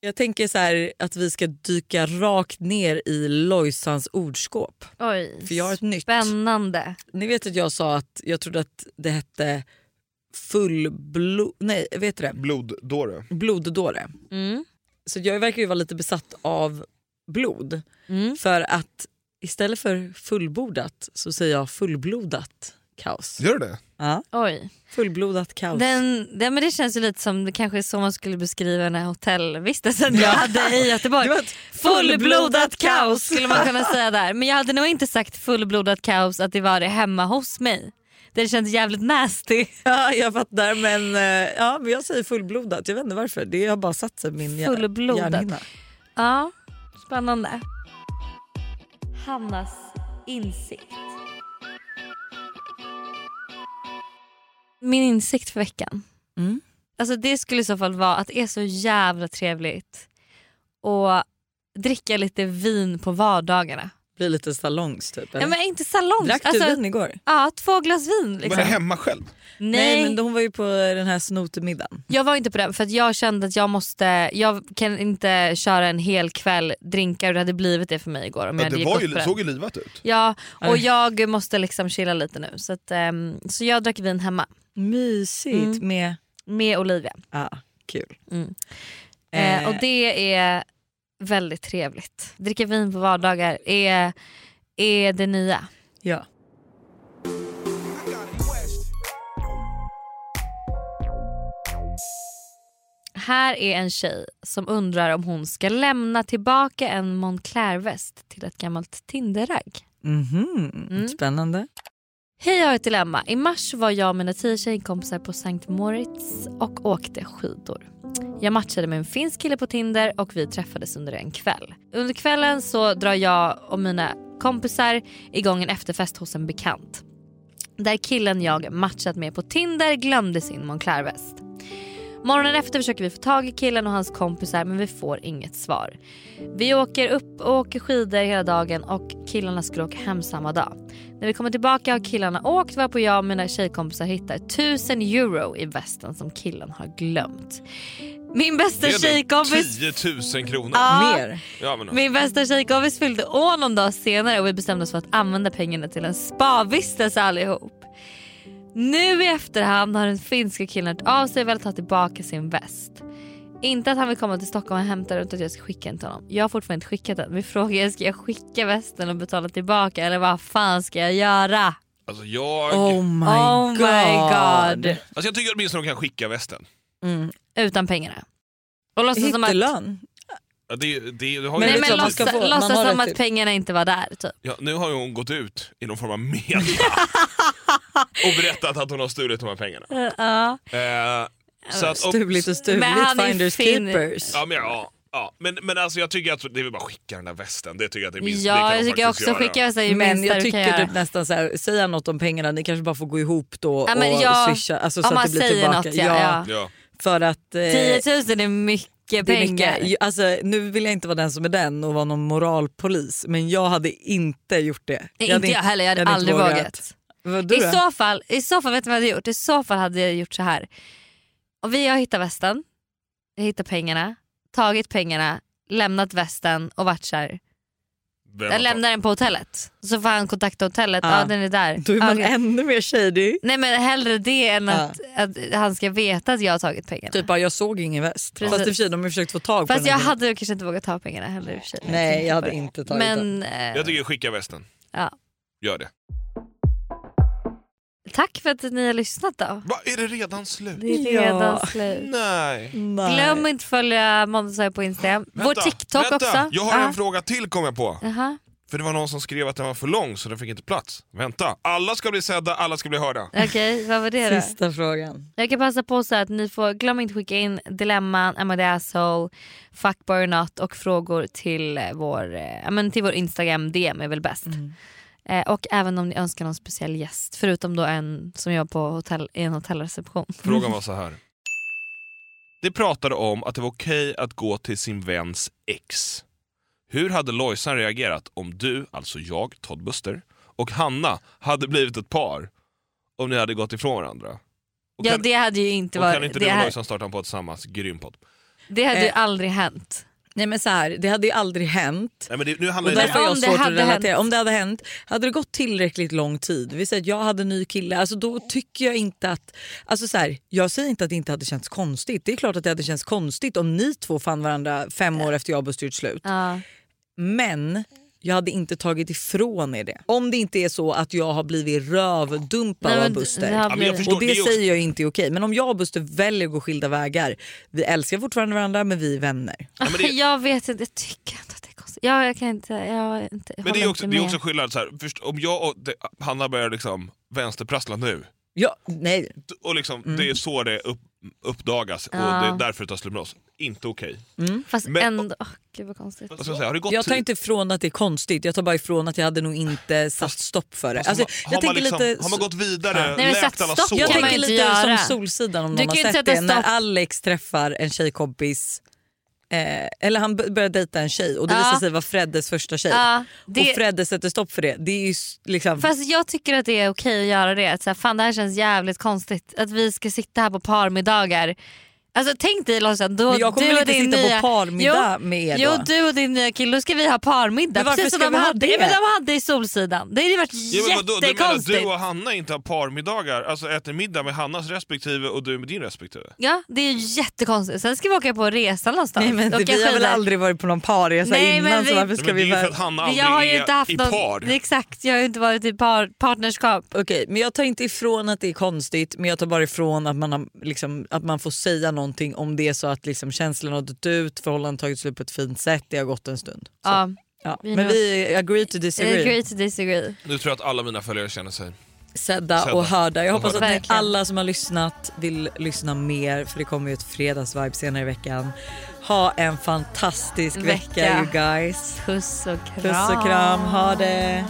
B: Jag tänker så här att vi ska dyka rakt ner i Lojsans ordskåp.
C: Oj,
B: För jag har ett nytt.
C: spännande.
B: Ni vet att jag sa att jag trodde att det hette fullblod... Nej, vet du det?
A: Bloddåre.
B: Bloddåre.
C: Mm.
B: Så jag verkar ju vara lite besatt av blod.
C: Mm.
B: För att istället för fullbordat så säger jag fullblodat kaos.
A: Gör du det?
B: Ja,
C: Oj.
B: fullblodat kaos.
C: Den, den, men det känns ju lite som det kanske är så man skulle beskriva den här hotellvistelsen jag hade i Göteborg.
B: Det var ett
C: Fullblodat kaos skulle man kunna säga där. Men jag hade nog inte sagt fullblodat kaos att det var det hemma hos mig. Det känns jävligt nasty.
B: Ja, jag fattar men, eh, ja, men jag säger fullblodat. Jag vet inte varför. Det har bara satt sig i min hjär-
C: Fullblodat.
B: hjärnhinna.
C: Ja, spännande. Hannas insikt. Min insikt för veckan.
B: Mm.
C: Alltså det skulle i så fall vara att det är så jävla trevligt och dricka lite vin på vardagarna.
B: Blir lite salongs typ.
C: Ja,
B: eller?
C: men inte salongs.
B: Drack du
C: alltså,
B: vin igår?
C: Ja, två glas vin.
A: Var
C: Liksom.
A: det hemma själv?
B: Nej.
C: Nej,
B: men hon var ju på den här snotemiddagen.
C: jag var inte på den för att jag kände att jag måste, jag kan inte köra en hel kväll drinkar och det hade blivit det för mig igår om
A: Ja,
C: jag hade
A: det
C: gick
A: var
C: upp på
A: ju,
C: den.
A: såg ju livat ut.
C: Ja, och
B: Nej.
C: jag måste liksom chilla lite nu. Så, att, ehm, så jag drack vin hemma
B: Mysigt
C: Mm.
B: med... ah,
C: med Olivia.
B: Ja, kul.
C: Mm. Eh, och det är väldigt trevligt. Dricka vin på vardagar är, är det nya.
B: Ja.
C: Här är en tjej som undrar om hon ska lämna tillbaka en Montclair-väst till ett gammalt Tinder-ragg.
B: Mhm. Spännande.
C: Mm. Hej jag har ett dilemma. I mars var jag och mina tio tjejkompisar på Sankt Moritz och åkte skidor. Jag matchade med en finsk kille på Tinder och vi träffades under en kväll. Under kvällen så drar jag och mina kompisar igång en efterfest hos en bekant. Där killen jag matchat med på Tinder glömde sin Moncler-väst. Morgonen efter försöker vi få tag i killen och hans kompisar men vi får inget svar. Vi åker upp och åker skidor hela dagen och killarna skulle åka hem samma dag. När vi kommer tillbaka har killarna åkt varpå jag och mina tjejkompisar hittar 1000 euro i västen som killen har glömt. Min bästa tjejkompis...
A: 10 000 kronor.
C: Ja.
B: Mer.
A: Ja, men,
C: Min bästa tjejkompis fyllde år någon dag senare och vi bestämde oss för att använda pengarna till en spavistelse allihop. Nu i efterhand har den finska killen hört av sig och velat ta tillbaka sin väst. Inte att han vill komma till Stockholm och hämta den utan att jag ska skicka den till honom. Jag har fortfarande inte skickat den. Min fråga är ska jag skicka västen och betala tillbaka eller vad fan ska jag göra?
A: alltså, jag,
B: Oh my
C: oh my god.
B: god.
A: alltså, jag tycker åtminstone de kan skicka västen.
C: Utan pengarna. Och låtsas som att,
B: Hittelön.
A: Ja, det, det, det har ju Alltså,
B: Men
C: nej,
B: det är
C: men
B: klart man
C: låtsas,
B: ska få. Man
C: låtsas
B: har
C: som
B: rätt
C: att
B: till.
C: pengarna inte var där typ.
A: Ja, nu har ju hon gått ut i någon form av media och berättat att hon har stulit de här pengarna.
C: Ja.
A: Eh, så att, och,
B: Stuligt och stuligt.
C: Men han är
B: Finders
C: fin-
B: keepers.
A: ja, men, ja, ja. Men, men alltså jag tycker att det är väl bara att skicka den där västen. Det tycker jag att det är minst, det kan
C: Ja,
A: de
C: jag tycker
A: faktiskt
C: också
A: göra.
C: skicka västen är det
B: Men
C: minsta
B: jag
C: du kan
B: tycker
C: göra.
B: typ nästan så här, säga något om pengarna, ni kanske bara får gå ihop då
C: Ja, men
B: och
C: ja,
B: swisha. Alltså,
C: om
B: så att
C: man
B: det blir
C: säger
B: tillbaka.
C: något, ja, ja.
A: Ja.
B: För att... eh,
C: 10 000 är mycket
B: det är
C: pengar.
B: mycket, alltså, nu vill jag inte vara den som är den och vara någon moralpolis men jag hade inte gjort det.
C: Nej, inte jag heller, jag hade, aldrig vågat.
B: Vad
C: I
B: du då?
C: så, fall, I så fall, vet du vad jag hade gjort? I så fall hade jag gjort så här. Och vi har hittat västen, jag hittar pengarna, tagit pengarna, lämnat västen och varit så här.
A: Vem har
C: Jag lämnar den på hotellet. Så får han kontakta hotellet, ja
B: Ja.
C: den är där.
B: Då är man
C: Okej.
B: ännu mer shady.
C: Nej men hellre det än
B: Ja.
C: att, att han ska veta att jag har tagit pengarna.
B: Typ bara jag såg ingen väst.
C: Precis.
B: Fast i och för sig de har försökt få tag på
C: Fast
B: den.
C: jag hade kanske inte vågat ta pengarna heller i och för sig.
B: Nej jag hade
C: tänkte
B: inte
C: på det.
B: tagit den.
C: Men, eh,
A: Jag tycker skicka västen.
C: Ja.
A: Gör det.
C: Tack för att ni har lyssnat då.
A: Va, är det redan slut?
C: Det är
B: Ja.
C: redan slut.
A: Nej.
B: Nej.
C: Glöm inte följa Måndagsöj på Instagram. Vår
A: Vänta,
C: TikTok
A: vänta.
C: också.
A: Jag har
C: Ja.
A: en fråga till kom jag på.
C: Jaha.
A: För det var någon som skrev att den var för lång så den fick inte plats. Vänta, alla ska bli sedda, alla ska bli hörda.
C: Okej, vad var det då?
B: Sista frågan.
C: Jag kan passa på så att ni får, glöm inte skicka in dilemman, Am I the asshole, fuckboy or not och frågor till eh, vår, eh, ja, men till vår Instagram DM är väl bäst.
B: Mm.
C: Eh, och även om ni önskar någon speciell gäst, förutom då en som jobbar på hotell, i en hotellreception.
A: Frågan var så här. Det pratade om att det var okej att gå till sin väns ex. Hur hade Lojsan reagerat om du, alltså jag, Todd Buster, och Hanna hade blivit ett par? Om ni hade gått ifrån varandra? Och
C: Ja
A: kan,
C: det hade ju inte
A: och kan
C: varit,
A: inte
C: det,
A: du och
C: här,
A: Lojsan starta en podd tillsammans? Grym podd.
C: det hade ju
B: Eh.
C: aldrig hänt.
B: Nej men så här, det hade ju aldrig hänt.
A: Nej, men det, nu
B: Och
A: handlar det
B: därför har
C: om
B: jag
C: det
B: svårt att
C: hade
B: relatera.
C: hänt.
B: Om det hade hänt, hade det gått tillräckligt lång tid, vi säger att jag hade en ny kille, alltså då tycker jag inte att... Alltså så här, jag säger inte att det inte hade känts konstigt, det är klart att det hade känts konstigt om ni två fann varandra fem år efter jag och Buster gjort slut.
C: Ja.
B: Men jag hade inte tagit ifrån er det. Om det inte är så att jag har blivit rövdumpad av
C: d-
B: Buster.
C: det har
A: men jag
C: blivit-
A: förstår-
B: Och det,
A: det är också-
B: säger jag inte är okej. Men om jag och Buster väljer att gå skilda vägar, vi älskar fortfarande varandra men vi är vänner.
A: Ja, men det-
C: Jag vet inte, jag tycker inte att det är konstigt. Jag, jag kan inte, jag inte,
A: Men det är, också,
C: inte
A: det är
C: med.
A: också skillnad, så här, först, om jag och det, Hanna börjar liksom vänsterprassla nu,
B: Ja, nej.
A: d- och liksom,
B: Mm.
A: det är så det upp, uppdagas och
C: Ja.
A: det är därför det tar slut med oss. Inte okej.
C: Fast
A: Men-
C: ändå, åh, gud vad konstigt.
A: Vad ska jag säga, Har det gått
B: Jag tar
A: tid?
B: inte ifrån att det är konstigt, jag tar bara ifrån att jag hade nog inte satt stopp för det.
A: Alltså,
B: Alltså,
A: har,
B: jag
A: man
B: tänker
A: liksom,
B: lite...
A: har man gått vidare,
C: Nej, men
A: läkt
C: satt
A: alla
C: stopp
A: sår?
B: jag
C: kan man
B: tänker
C: ju inte
B: lite
C: göra.
B: som Solsidan om
C: Du
B: någon
C: kan ju
B: har
C: inte
B: sett
C: sätta
B: det. När
C: stopp.
B: Alex träffar en tjejkompis, eh, eller han b- börjar dejta en tjej och det
C: Ja.
B: visar sig vara Freddes första tjej.
C: Ja, det-
B: Och Fredde sätter stopp för det. Det är ju s- liksom...
C: Fast jag tycker att det är okej att göra det. Att så här, fan det här känns jävligt konstigt att vi ska sitta här på parmiddagar. Alltså tänk dig Lojsan, då
B: Men jag kommer
C: du
B: väl
C: och
B: inte
C: din
B: sitta
C: nya...
B: på parmiddag
C: jo,
B: med er
C: Jo
B: då?
C: du och din nya kille, då ska vi ha parmiddag.
B: Men varför
C: Precis som
B: ska
C: de
B: vi ha
C: hade,
B: det?
C: Men de hade i Solsidan. Det hade varit
A: Ja, men vadå, du, menar, att
C: jättekonstigt.
A: du och Hanna inte har parmiddagar, alltså äter middag med Hannas respektive och du med din respektive?
C: Ja det är jättekonstigt. Sen ska vi åka på resa någonstans.
B: Nej, men det,
C: Åka
B: vi har väl
C: skidor.
B: aldrig varit på någon parresa
C: Nej, men
B: innan så
C: vi-
B: varför ska
A: Nej, men
B: vi
A: det är ju för
B: vara...
A: att Hanna
C: Men
A: aldrig
C: jag har ju inte haft
A: är i
C: någon...
A: par.
C: Det är Exakt, jag har ju inte varit i par... partnerskap.
B: Okej, men jag tar inte ifrån att det är konstigt men jag tar bara ifrån att man, har, liksom, att man får säga någonting om det är så att liksom, känslan har dött ut, förhållandet tagit slut på ett fint sätt, det har gått en stund. Så,
C: Ja,
B: ja.
C: vi
B: Men
C: måste-
B: vi agree to disagree.
C: agree to disagree.
A: Nu tror jag att alla mina följare känner sig
B: sedda,
A: Sedda.
B: och hörda. Jag
A: Och
B: hoppas att
A: hörda.
B: ni
C: Verkligen.
B: alla som har lyssnat vill lyssna mer för det kommer ju ett fredagsvibe senare i veckan. Ha en fantastisk vecka,
C: Vecka.
B: you guys.
C: Puss och kram.
B: Puss och kram, ha det!